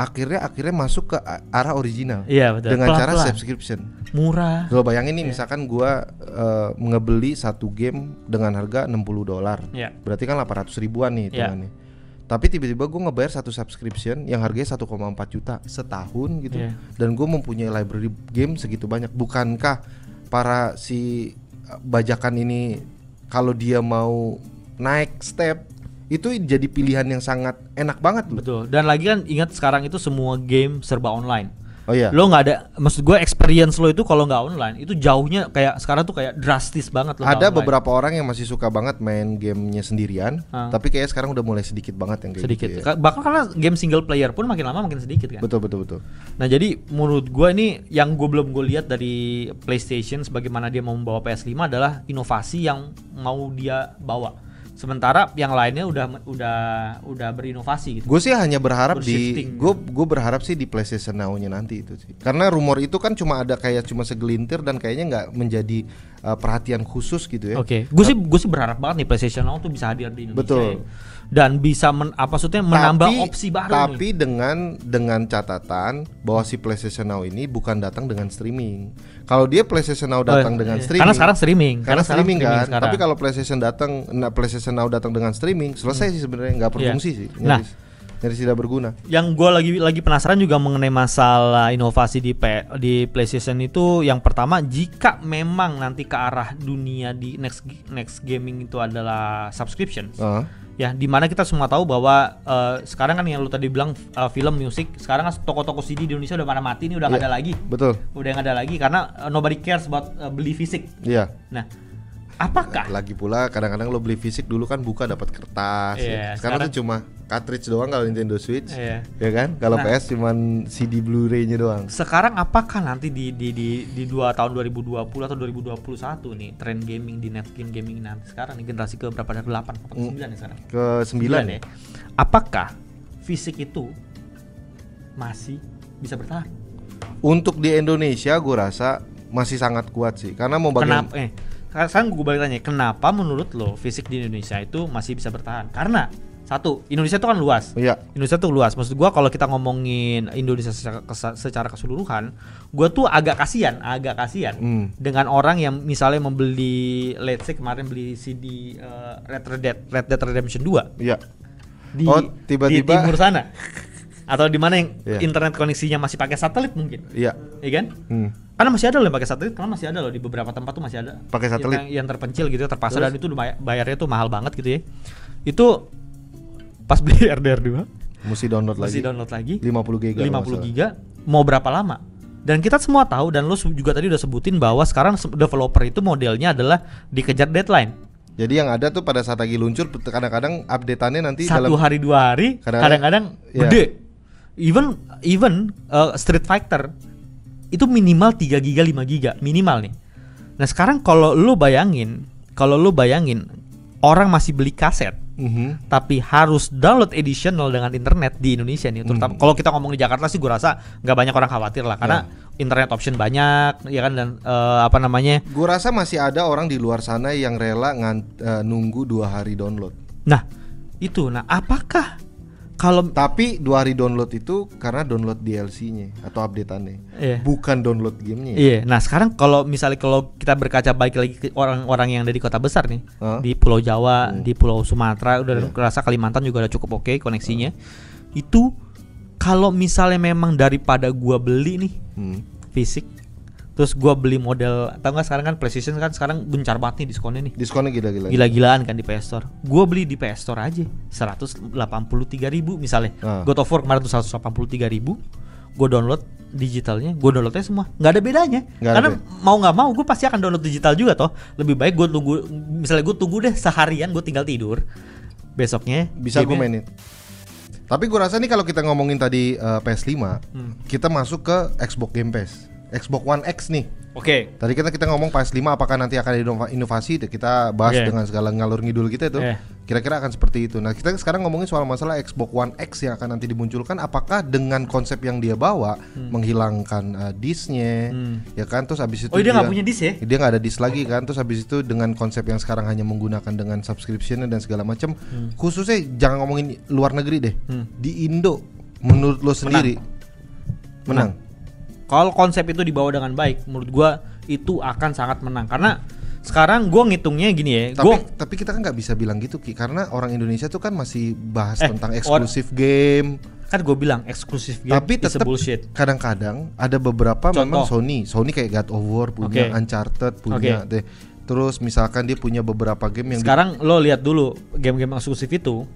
S1: akhirnya akhirnya masuk ke a- arah original
S2: Iya, betul.
S1: dengan cara
S2: Pelan-pelan.
S1: subscription.
S2: Murah.
S1: Lo bayangin
S2: Iya.
S1: nih misalkan gua eh, ngebeli satu game dengan harga 60 dolar.
S2: Iya.
S1: Berarti kan 800 ribuan nih
S2: Iya.
S1: hitungannya. Tapi tiba-tiba gue ngebayar satu subscription yang harganya 1,4 juta setahun gitu.
S2: Iya.
S1: Dan gue mempunyai library game segitu banyak. Bukankah para si eh, bajakan ini kalau dia mau naik step itu jadi pilihan yang sangat enak banget loh.
S2: Betul. Dan lagi kan ingat sekarang itu semua game serba online.
S1: Oh iya.
S2: Lo nggak ada maksud gue experience lo itu kalau nggak online itu jauhnya kayak sekarang tuh kayak drastis banget lo nggak
S1: Ada
S2: online.
S1: beberapa orang yang masih suka banget main gamenya sendirian,
S2: Ah.
S1: tapi kayaknya sekarang udah mulai sedikit banget yang kayak
S2: sedikit.
S1: gitu ya.
S2: Ka- Bahkan karena game single player pun makin lama makin sedikit kan.
S1: Betul betul betul.
S2: Nah jadi menurut gue ini yang gue belum gue lihat dari PlayStation sebagaimana dia mau membawa PS5 adalah inovasi yang mau dia bawa. Sementara yang lainnya udah udah udah berinovasi gitu.
S1: Gue sih hanya berharap di
S2: Bershifting.
S1: gue gue berharap sih di PlayStation Now-nya nanti itu sih. Karena rumor itu kan cuma ada kayak cuma segelintir dan kayaknya nggak menjadi uh, perhatian khusus gitu ya.
S2: Oke, gue sih gue sih berharap banget nih PlayStation Now tuh bisa hadir di Indonesia
S1: Betul.
S2: ya. dan bisa men, apa maksudnya menambah opsi baru
S1: Tapi
S2: nih.
S1: dengan dengan catatan bahwa si PlayStation Now ini bukan datang dengan streaming. Kalau dia PlayStation Now datang
S2: Eh,
S1: dengan
S2: iya.
S1: streaming.
S2: Karena sekarang streaming.
S1: karena, streaming, kan.
S2: sekarang.
S1: Tapi kalau PlayStation datang nah PlayStation Now datang dengan streaming, selesai sih sebenarnya nggak berfungsi sih.
S2: Hmm. Nah.
S1: Nyaris, nyaris tidak berguna.
S2: yang gue lagi lagi penasaran juga mengenai masalah inovasi di P- di PlayStation itu yang pertama jika memang nanti ke arah dunia di next next gaming itu adalah subscription
S1: Ah.
S2: ya dimana kita semua tahu bahwa eh, sekarang kan yang lu tadi bilang eh, film musik sekarang kan toko-toko CD di Indonesia udah mana mati ini udah nggak
S1: Iya.
S2: ada lagi
S1: Betul.
S2: udah nggak ada lagi karena eh, nobody cares about eh, beli fisik
S1: Iya.
S2: nah apakah
S1: Lagi pula kadang-kadang lo beli fisik dulu kan buka dapat kertas. ya.
S2: Iya,
S1: Sekarang,
S2: sekarang-
S1: tuh cuma cartridge doang kalau Nintendo Switch.
S2: Iya.
S1: Ya kan? Kalau
S2: Nah.
S1: PS cuman CD Blu-ray-nya doang.
S2: Sekarang apakah nanti di di di di dua tahun 2020 atau 2021 nih tren gaming di next game gaming nanti sekarang nih generasi ke berapa ada 8 apa ke 9 ya sekarang?
S1: Ke 9,
S2: ya. Apakah fisik itu masih bisa bertahan?
S1: Untuk di Indonesia gue rasa masih sangat kuat sih. Karena mau bagian
S2: Kenapa eh sekarang gue balik tanya, kenapa menurut lo fisik di Indonesia itu masih bisa bertahan? Karena satu, Indonesia itu kan luas.
S1: Iya.
S2: Indonesia tuh luas. Maksud gua kalau kita ngomongin Indonesia secara, kesa- secara keseluruhan, gua tuh agak kasihan, agak kasihan
S1: Hmm.
S2: dengan orang yang misalnya membeli let's say kemarin beli CD eh, Red Dead Red Dead Redemption 2
S1: Iya.
S2: di
S1: Oh,
S2: di
S1: tiba-tiba-
S2: timur sana. Atau di mana yang
S1: Iya.
S2: internet koneksinya masih pakai satelit mungkin.
S1: Iya.
S2: Iya kan?
S1: Hmm.
S2: Karena masih ada loh yang pakai satelit, karena masih ada loh di beberapa tempat tuh masih ada.
S1: Pakai satelit?
S2: Yang, yang terpencil gitu, terpaksa
S1: Terus?
S2: dan itu lumay- bayarnya tuh mahal banget gitu ya. Itu pas beli RDR 2
S1: Mesti download
S2: masih
S1: lagi.
S2: download lagi
S1: 50 giga. kalau nggak
S2: 50
S1: salah.
S2: giga mau berapa lama dan kita semua tahu dan lo juga tadi udah sebutin bahwa sekarang se- developer itu modelnya adalah dikejar deadline
S1: Jadi yang ada tuh pada saat lagi luncur kadang-kadang updateannya nanti
S2: satu
S1: dalam
S2: hari dua hari kadang-kadang
S1: Kadang-kadang- Iya.
S2: gede even even uh, Street Fighter itu minimal 3 giga 5 giga minimal nih nah sekarang kalau lo bayangin kalau lo bayangin orang masih beli kaset
S1: Mhm.
S2: tapi harus download additional dengan internet di Indonesia nih terutama kalau kita ngomong di Jakarta sih gue rasa nggak banyak orang khawatir lah karena internet option banyak ya kan dan eh, apa namanya
S1: Gue rasa masih ada orang di luar sana yang rela ngan- eh, nunggu dua hari download.
S2: nah itu nah apakah kalau
S1: Tapi dua hari download itu karena download DLC-nya atau updateannya,
S2: Iya.
S1: bukan download gamenya.
S2: Iya, nah sekarang kalau misalnya kalau kita berkaca baik lagi ke orang-orang yang dari kota besar nih,
S1: Hah?
S2: di Pulau Jawa, di Pulau Sumatera, udah kerasa Kalimantan juga udah cukup oke koneksinya. Itu kalau misalnya memang daripada gua beli nih,
S1: Hmm.
S2: fisik terus gua beli model tau nggak sekarang kan PlayStation kan sekarang gencar banget nih diskonnya nih
S1: Diskonnya gila-gila.
S2: gila-gilaan kan di PS Store gua beli di PS Store aja 183.000 ribu misalnya
S1: Ah.
S2: God of War kemarin tuh 183.000 ribu gue download digitalnya gue downloadnya semua nggak ada bedanya
S1: Nggak ada
S2: karena mau nggak mau gue pasti akan download digital juga toh lebih baik gue tunggu misalnya gue tunggu deh seharian gue tinggal tidur besoknya
S1: Bisa gue
S2: gamenya-
S1: mainin.
S2: Hmm.
S1: Tapi gue rasa nih kalau kita ngomongin tadi eh, PS5, kita masuk ke Xbox Game Pass. Xbox One X nih.
S2: Oke.
S1: Tadi kita kita ngomong PS5 apakah nanti akan ada inova- inovasi kita bahas
S2: Oke.
S1: dengan segala ngalur ngidul kita itu.
S2: Eh.
S1: Kira-kira akan seperti itu. Nah, kita sekarang ngomongin soal masalah Xbox One X yang akan nanti dimunculkan apakah dengan konsep yang dia bawa
S2: Hmm.
S1: menghilangkan uh, disknya ya kan terus habis itu
S2: Oh, dia nggak punya disk ya?
S1: Dia nggak ada disk lagi kan terus habis itu dengan konsep yang sekarang hanya menggunakan dengan subscriptionnya dan segala macam
S2: Hmm.
S1: khususnya jangan ngomongin luar negeri deh. Di Indo menurut lo sendiri menang.
S2: Kalau konsep itu dibawa dengan baik, menurut gua itu akan sangat menang karena sekarang gua ngitungnya gini ya.
S1: Tapi
S2: Gua
S1: tapi kita kan nggak bisa bilang gitu Ki karena orang Indonesia tuh kan masih bahas
S2: Eh,
S1: tentang
S2: or-
S1: eksklusif game.
S2: kan gua bilang eksklusif game
S1: tapi
S2: is a
S1: tetap
S2: bullshit.
S1: kadang-kadang ada beberapa
S2: Contoh.
S1: memang Sony. Sony kayak God of War punya,
S2: Oke.
S1: Uncharted punya deh. Terus misalkan dia punya beberapa game yang gitu. di-
S2: Sekarang lo lihat dulu game-game eksklusif itu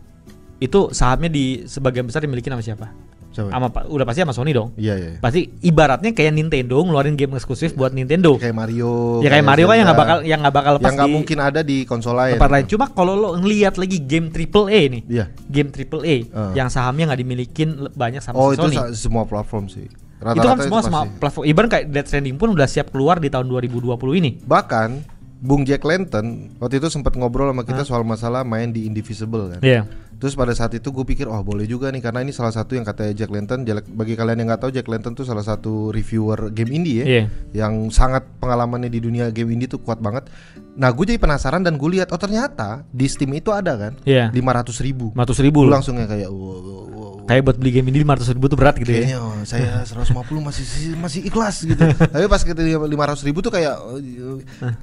S2: itu sahamnya di sebagian besar dimiliki sama siapa?
S1: Siapa?
S2: Sama pa- udah pasti sama Sony dong.
S1: Iya iya. iya.
S2: Pasti ibaratnya kayak Nintendo ngeluarin game eksklusif buat Nintendo.
S1: Kayak Mario.
S2: ya kayak Mario kan yang
S1: Zelda,
S2: nggak bakal yang nggak bakal lepas
S1: yang nggak
S2: di
S1: mungkin ada di konsol lain.
S2: tempat lain. Cuma kalau lo ngelihat lagi game triple A nih,
S1: Iya.
S2: game triple A
S1: Ah.
S2: yang sahamnya nggak dimilikin le- banyak sama
S1: Oh
S2: si
S1: itu
S2: Sony.
S1: sa- semua platform sih.
S2: itu kan
S1: Rata-rata
S2: semua sama
S1: pasti.
S2: platform. Ibarat kayak Death Stranding pun udah siap keluar di tahun 2020 ini.
S1: Bahkan Bung Jack Lenton waktu itu sempat ngobrol sama kita soal masalah main di Indivisible kan.
S2: Iya.
S1: Terus pada saat itu gue pikir, oh boleh juga nih karena ini salah satu yang katanya Jack Lenton. Jack- Bagi kalian yang nggak tahu, Jack Lenton tuh salah satu reviewer game indie ya,
S2: Iya.
S1: yang sangat pengalamannya di dunia game indie tuh kuat banget. Nah gue jadi penasaran dan gue lihat, oh ternyata di Steam itu ada kan,
S2: Iya.
S1: lima ratus ribu.
S2: 500 ribu
S1: Gue
S2: loh.
S1: langsung yang kayak, wow, wow, wow.
S2: Kayak buat beli game ini 500 ribu tuh berat gitu ya.
S1: Kayaknya oh, saya 150 masih masih ikhlas gitu. Tapi pas kita lima ratus ribu tuh kayak,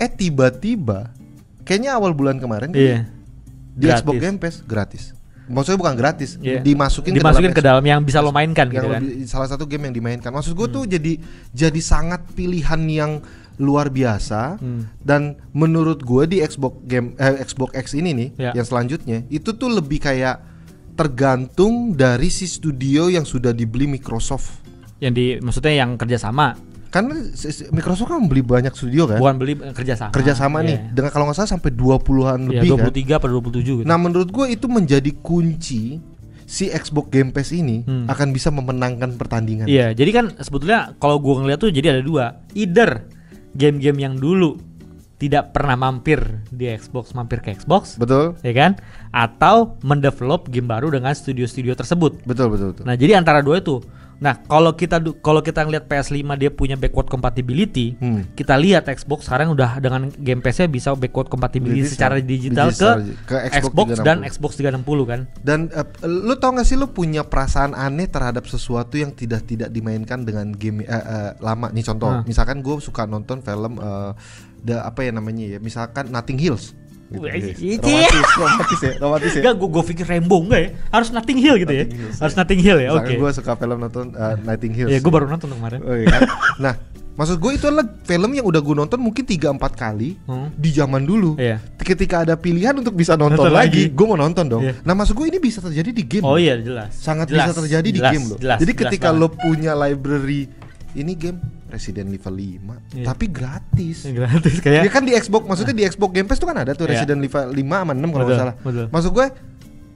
S1: eh tiba-tiba, kayaknya awal bulan kemarin
S2: Iya.
S1: di Xbox
S2: Gratis.
S1: Game Pass gratis. Maksudnya bukan gratis,
S2: Iya.
S1: dimasukin,
S2: dimasukin ke
S1: Xbox.
S2: dalam yang bisa lo mainkan gitu
S1: yang
S2: kan. Hmm.
S1: lebih- salah satu game yang dimainkan. Maksud gue tuh jadi jadi sangat pilihan yang luar biasa
S2: Hmm.
S1: dan menurut gue di Xbox game eh, Xbox X ini nih
S2: Ya.
S1: yang selanjutnya itu tuh lebih kayak tergantung dari si studio yang sudah dibeli Microsoft.
S2: Yang di maksudnya yang kerjasama,
S1: Karena si- si- Microsoft kan membeli banyak studio kan?
S2: bukan beli eh, kerjasama.
S1: Kerjasama nih
S2: Iya.
S1: dengan kalau nggak salah sampai 20-an
S2: Iya,
S1: lebih kan.
S2: 23 per 27 gitu.
S1: Nah menurut gue itu menjadi kunci si Xbox Game Pass ini
S2: Hmm.
S1: akan bisa memenangkan pertandingan.
S2: Iya, jadi kan sebetulnya kalau gua ngeliat tuh jadi ada dua. Either game-game yang dulu tidak pernah mampir di Xbox, mampir ke Xbox,
S1: Betul,
S2: ya kan? Atau mendevelop game baru dengan studio-studio tersebut.
S1: betul, betul, betul.
S2: Nah, jadi antara dua itu. Nah, kalau kita du- kalau kita ngelihat PS5 dia punya backward compatibility,
S1: Hmm.
S2: kita lihat Xbox sekarang udah dengan Game Pass-nya bisa backward compatibility
S1: Jadi
S2: secara
S1: se-
S2: digital,
S1: digital
S2: ke,
S1: ke Xbox
S2: Xbox, dan
S1: 360.
S2: Xbox 360 kan.
S1: Dan eh, lu tau gak sih lu punya perasaan aneh terhadap sesuatu yang tidak tidak dimainkan dengan game eh, eh, lama nih contoh
S2: Nah.
S1: misalkan gue suka nonton film eh, the apa ya namanya ya misalkan Nothing Hills gitu,
S2: Wah,
S1: guys.
S2: iya.
S1: romantis romantis ya romantis ya
S2: Enggak, gua gua pikir Rainbow enggak ya? Harus Nothing Hill gitu ya.
S1: Nothing Hill,
S2: Harus Nothing Hill ya. Oke.
S1: misalkan gue suka film nonton eh, Nothing Hills
S2: Ya, gua baru nonton kemarin.
S1: Oke kan? nah, maksud gue itu adalah film yang udah gue nonton mungkin 3 4 kali
S2: Hmm.
S1: di zaman dulu.
S2: Iya.
S1: Ketika ada pilihan untuk bisa nonton,
S2: Nonton
S1: lagi,
S2: lagi.
S1: gue mau nonton dong.
S2: Iya.
S1: Nah, maksud gue ini bisa terjadi di game.
S2: Oh iya, jelas.
S1: gitu. Sangat
S2: Jelas,
S1: bisa terjadi
S2: jelas,
S1: di game loh.
S2: jelas,
S1: Jadi
S2: jelas
S1: ketika
S2: banget.
S1: lo punya library ini game Resident Evil 5
S2: Iya.
S1: tapi gratis.
S2: gratis
S1: Ya
S2: kayak
S1: kan di Xbox, maksudnya di Xbox Game Pass tuh kan ada tuh
S2: Iya.
S1: Resident Evil 5 sama 6 kalau nggak
S2: Betul,
S1: salah.
S2: betul.
S1: Maksud gue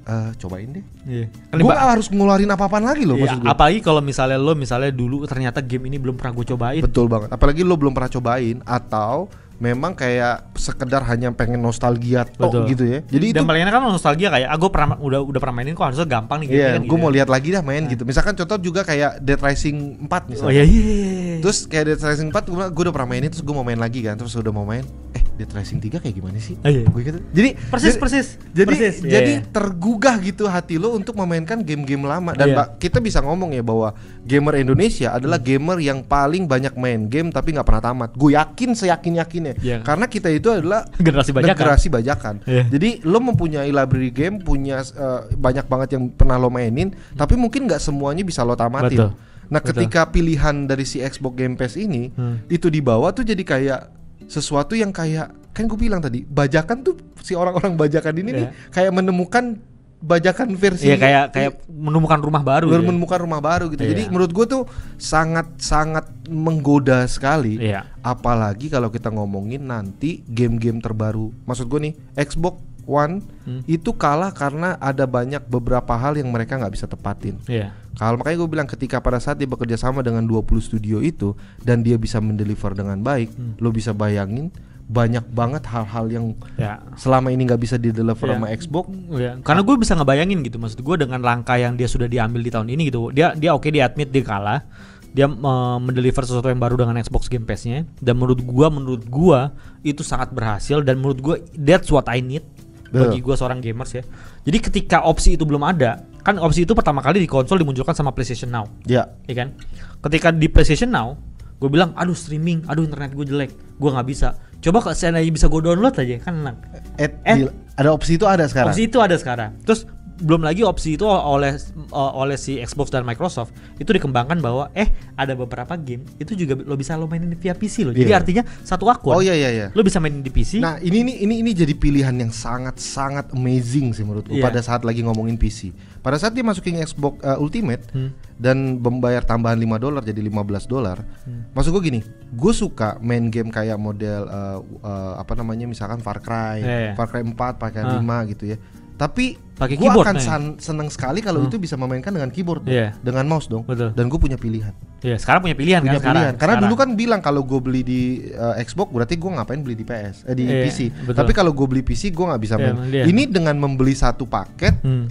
S1: eh, cobain deh.
S2: Iya. Kan
S1: Gue
S2: Mbak-
S1: harus ngeluarin apa-apaan lagi loh
S2: Iya,
S1: maksud gue.
S2: apalagi kalau misalnya lo misalnya dulu ternyata game ini belum pernah gue cobain.
S1: Betul banget. Apalagi lo belum pernah cobain atau memang kayak sekedar hanya pengen nostalgia tok gitu ya. Jadi itu
S2: dan paling enak kan nostalgia kayak ah gue pernah udah udah pernah mainin kok harusnya gampang nih
S1: Iya,
S2: kan Nah.
S1: gue mau lihat lagi dah main gitu. Misalkan contoh juga kayak Dead Rising 4 misalnya.
S2: Oh iya iya. iya, iya.
S1: Terus kayak Dead Rising 4 gue gue udah pernah mainin terus gue mau main lagi kan. Terus udah mau main, eh Dead Rising 3 kayak gimana sih?
S2: Ah, iya.
S1: Gue gitu. Jadi
S2: persis
S1: jadi-
S2: persis.
S1: Jadi
S2: persis. Iya,
S1: jadi
S2: iya.
S1: tergugah gitu hati lo untuk memainkan game-game lama dan
S2: Iya.
S1: Mbak, kita bisa ngomong ya bahwa gamer Indonesia adalah gamer yang paling banyak main game tapi nggak pernah tamat. Gue yakin seyakin yakinnya
S2: Iya.
S1: karena kita itu adalah
S2: generasi banyak kan.
S1: generasi bajakan.
S2: Iya.
S1: Jadi lo mempunyai library game, punya eh, banyak banget yang pernah lo mainin, tapi mungkin nggak semuanya bisa lo tamatin. Nah,
S2: Betul. Betul. Hmm.
S1: ketika pilihan dari si Xbox Game Pass ini itu dibawa tuh jadi kayak sesuatu yang kayak kan gue bilang tadi bajakan tuh si orang-orang bajakan ini
S2: Iya.
S1: nih kayak menemukan bajakan versi
S2: Iya kayak kayak menemukan rumah baru.
S1: baru
S2: gitu.
S1: menemukan rumah baru gitu. Jadi
S2: Iya.
S1: menurut gue tuh sangat sangat menggoda sekali.
S2: Iya.
S1: Apalagi kalau kita ngomongin nanti game-game terbaru. Maksud gue nih Xbox One
S2: Hmm.
S1: itu kalah karena ada banyak beberapa hal yang mereka nggak bisa tepatin.
S2: Iya.
S1: Kalau makanya gue bilang ketika pada saat dia bekerja sama dengan 20 studio itu dan dia bisa mendeliver dengan baik,
S2: Hmm.
S1: lo bisa bayangin banyak banget hal-hal yang
S2: Ya.
S1: selama ini nggak bisa dideliver
S2: Iya.
S1: sama Xbox.
S2: Iya, karena gue bisa ngebayangin gitu maksud gue dengan langkah yang dia sudah diambil di tahun ini gitu dia dia oke dia admit dia kalah dia eh, mendeliver sesuatu yang baru dengan Xbox Game Pass-nya dan menurut gua menurut gua itu sangat berhasil dan menurut gua that's what I need
S1: Betul.
S2: bagi gua seorang gamers ya jadi ketika opsi itu belum ada kan opsi itu pertama kali di konsol dimunculkan sama PlayStation Now
S1: Ya,
S2: ya kan? Ketika di PlayStation Now, gue bilang, aduh streaming, aduh internet gue jelek, gue nggak bisa. Coba kalau seandainya bisa gue download aja, kan enak.
S1: at-
S2: Eh.
S1: di- ada opsi itu ada sekarang.
S2: Opsi itu ada sekarang. Terus belum lagi opsi itu oleh eh, oleh si Xbox dan Microsoft itu dikembangkan bahwa eh ada beberapa game itu juga lo bisa lo mainin via PC lo. Jadi
S1: Iya.
S2: artinya satu akun.
S1: Oh iya iya iya.
S2: Lo bisa mainin di PC.
S1: Nah ini ini ini ini jadi pilihan yang sangat sangat amazing sih menurut gue
S2: Iya.
S1: pada saat lagi ngomongin PC. Pada saat dia masukin Xbox uh, Ultimate
S2: Hmm.
S1: dan membayar tambahan 5 dolar jadi 15 dolar.
S2: Hmm.
S1: Maksud gue gini, gue suka main game kayak model uh, uh, apa namanya misalkan Far Cry,
S2: Iya, iya.
S1: Far Cry 4, Far Cry
S2: Ah.
S1: 5 gitu ya. Tapi
S2: Pakai
S1: gue
S2: keyboard,
S1: akan
S2: nah ya.
S1: san- seneng sekali kalau itu bisa memainkan dengan keyboard, dong,
S2: Iya.
S1: dengan mouse dong.
S2: Betul.
S1: Dan gue punya pilihan.
S2: Iya, sekarang punya pilihan
S1: Punya
S2: kan sekarang.
S1: pilihan. Karena
S2: Sekarang.
S1: dulu kan bilang kalau gue beli di uh, Xbox berarti gue ngapain beli di PS eh, di
S2: Iya,
S1: PC.
S2: betul.
S1: Tapi kalau gue beli PC gue nggak bisa
S2: Iya,
S1: main.
S2: iya.
S1: Ini dengan membeli satu paket
S2: Hmm.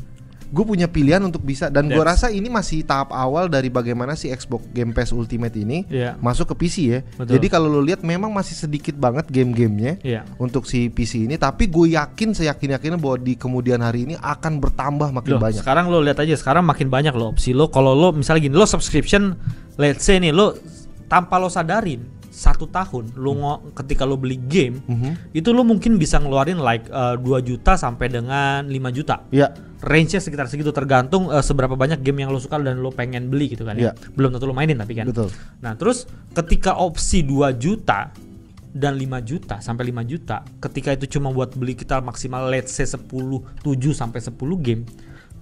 S1: gue punya pilihan untuk bisa dan gue
S2: That's-
S1: rasa ini masih tahap awal dari bagaimana si Xbox Game Pass Ultimate ini
S2: Iya.
S1: masuk ke PC ya.
S2: Betul.
S1: Jadi kalau lo lihat memang masih sedikit banget game-gamenya
S2: Iya.
S1: untuk si PC ini. Tapi gue yakin seyakin yakinnya bahwa di kemudian hari ini akan bertambah makin
S2: Loh,
S1: banyak.
S2: sekarang lo lihat aja sekarang makin banyak lo opsi lo kalau lo misalnya gini lo subscription let's say nih lo tanpa lo sadarin satu tahun lo
S1: Hmm.
S2: ngo- ketika lo beli game
S1: Mhm.
S2: itu lo mungkin bisa ngeluarin like eh, 2 juta sampai dengan 5 juta
S1: Ya,
S2: range-nya sekitar segitu tergantung eh, seberapa banyak game yang lo suka dan lo pengen beli gitu kan ya.
S1: Iya.
S2: Belum tentu lo mainin tapi kan.
S1: Betul.
S2: Nah, terus ketika opsi 2 juta dan 5 juta sampai 5 juta, ketika itu cuma buat beli kita maksimal let's say 10 7 sampai 10 game,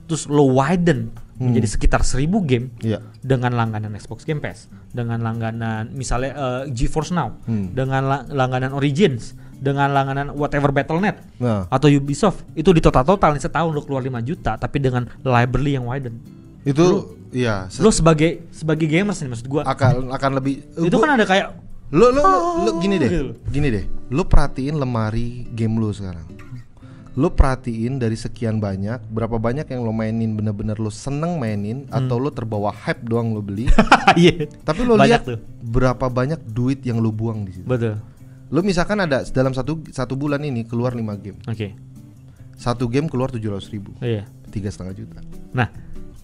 S2: terus lo widen menjadi sekitar 1000 game
S1: Hmm. Iya.
S2: dengan langganan Xbox Game Pass, dengan langganan misalnya eh, GeForce Now,
S1: Hmm.
S2: dengan la- langganan Origins, dengan langganan whatever Battle.net
S1: Nah.
S2: atau Ubisoft itu di total total nih setahun lo keluar 5 juta tapi dengan library yang widen.
S1: itu ya se-
S2: Lo sebagai sebagai gamers nih maksud gua.
S1: akan akan lebih
S2: itu
S1: gua-
S2: kan ada kayak
S1: Lu lu lu, lu gini deh.
S2: Gitu.
S1: Gini deh. Lu perhatiin lemari game lu sekarang. Lu perhatiin dari sekian banyak, berapa banyak yang lo mainin bener-bener lo seneng mainin atau lo terbawa hype doang lo beli.
S2: iya.
S1: Tapi lo
S2: Hmm. Banyak
S1: lihat
S2: tuh.
S1: berapa banyak duit yang lo buang di situ.
S2: Betul.
S1: Lo misalkan ada dalam satu satu bulan ini keluar 5 game.
S2: Oke.
S1: Satu game keluar 700 ribu,
S2: Iya.
S1: tiga setengah juta.
S2: Nah,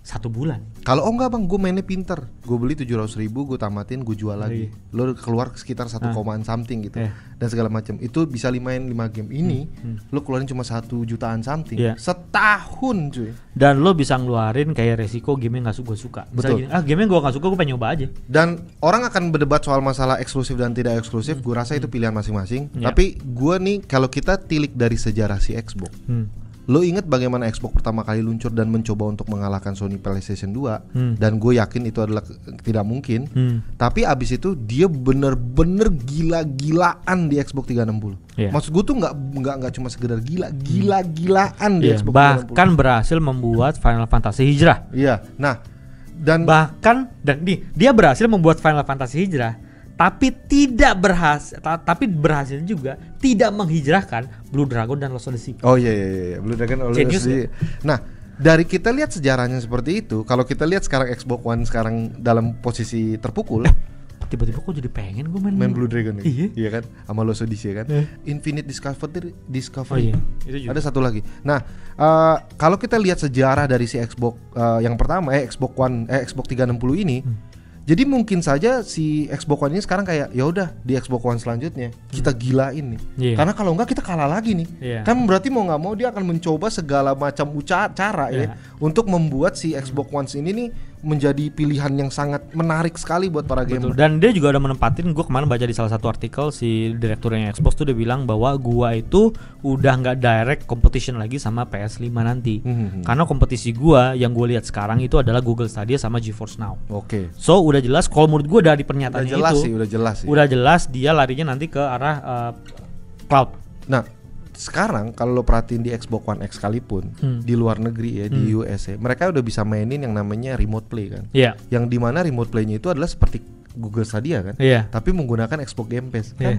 S2: satu bulan.
S1: Kalau oh enggak bang, gue mainnya pinter. Gue beli 700 ribu, gue tamatin, gue jual lagi. Lo keluar sekitar satu komaan something gitu
S2: Iya. Hmm,
S1: dan segala macam. Itu bisa limain 5 game ini, lo keluarin cuma satu jutaan something
S2: Iya.
S1: setahun cuy.
S2: Dan lo bisa ngeluarin kayak resiko game yang gak gue suka. Misalnya
S1: Betul.
S2: gini, ah game yang gue gak suka gue pengen nyoba aja.
S1: Dan orang akan berdebat soal masalah eksklusif dan tidak eksklusif. Gue rasa itu pilihan masing-masing.
S2: Hmm. Iya.
S1: Tapi gue nih kalau kita tilik dari sejarah si Xbox,
S2: Hmm.
S1: Lo inget bagaimana Xbox pertama kali luncur dan mencoba untuk mengalahkan Sony PlayStation 2
S2: Hmm.
S1: Dan gue yakin itu adalah ke- tidak mungkin
S2: Hmm.
S1: Tapi abis itu dia bener-bener gila-gilaan di Xbox 360
S2: Iya.
S1: Maksud gue tuh nggak nggak nggak cuma sekedar gila, gila-gilaan di
S2: Iya,
S1: Xbox 360
S2: bahkan berhasil membuat Final Fantasy Hijrah.
S1: Iya, nah dan
S2: Bahkan dan di dia berhasil membuat Final Fantasy Hijrah, tapi tidak berhasil ta- tapi berhasil juga tidak menghijrahkan Blue Dragon dan Lost Odyssey.
S1: Oh iya iya iya, iya, Blue Dragon oleh
S2: Genius
S1: SD.
S2: ya?
S1: Nah, dari kita lihat sejarahnya seperti itu, kalau kita lihat sekarang Xbox One sekarang dalam posisi terpukul,
S2: Eh, Tiba-tiba kok jadi pengen gue main,
S1: main Blue Dragon ya?
S2: Iya.
S1: kan sama Los Odyssey kan
S2: Iya.
S1: Infinite Discovery
S2: Oh
S1: Discovery
S2: iya, itu juga.
S1: ada satu lagi nah eh, kalau kita lihat sejarah dari si Xbox eh, yang pertama eh Xbox One eh Xbox 360 ini
S2: Hmm.
S1: jadi mungkin saja si Xbox One ini sekarang kayak ya udah di Xbox One selanjutnya kita gilain nih
S2: Hmm. Iya.
S1: karena kalau enggak kita kalah lagi nih
S2: Iya.
S1: kan berarti mau nggak mau dia akan mencoba segala macam uca- cara ya
S2: Iya.
S1: untuk membuat si Xbox One ini nih menjadi pilihan yang sangat menarik sekali buat para gamer
S2: Betul. Gitu. Dan dia juga ada menempatin gue kemarin baca di salah satu artikel si direkturnya Xbox tuh dia bilang bahwa gua itu udah nggak direct competition lagi sama PS5 nanti.
S1: Mhm.
S2: Karena kompetisi gua yang gue lihat sekarang itu adalah Google Stadia sama GeForce Now.
S1: oke
S2: So udah jelas kalau menurut gue dari
S1: udah
S2: pernyataannya
S1: jelas
S2: itu
S1: sih udah jelas sih
S2: udah jelas dia larinya nanti ke arah uh, eh, cloud.
S1: Nah, sekarang kalau lo perhatiin di Xbox One X sekalipun
S2: Hmm.
S1: di luar negeri ya di
S2: Hmm.
S1: US ya, mereka udah bisa mainin yang namanya remote play kan.
S2: Iya.
S1: Yang dimana remote playnya itu adalah seperti Google Stadia kan,
S2: Iya.
S1: tapi menggunakan Xbox Game Pass. Kan?
S2: Iya.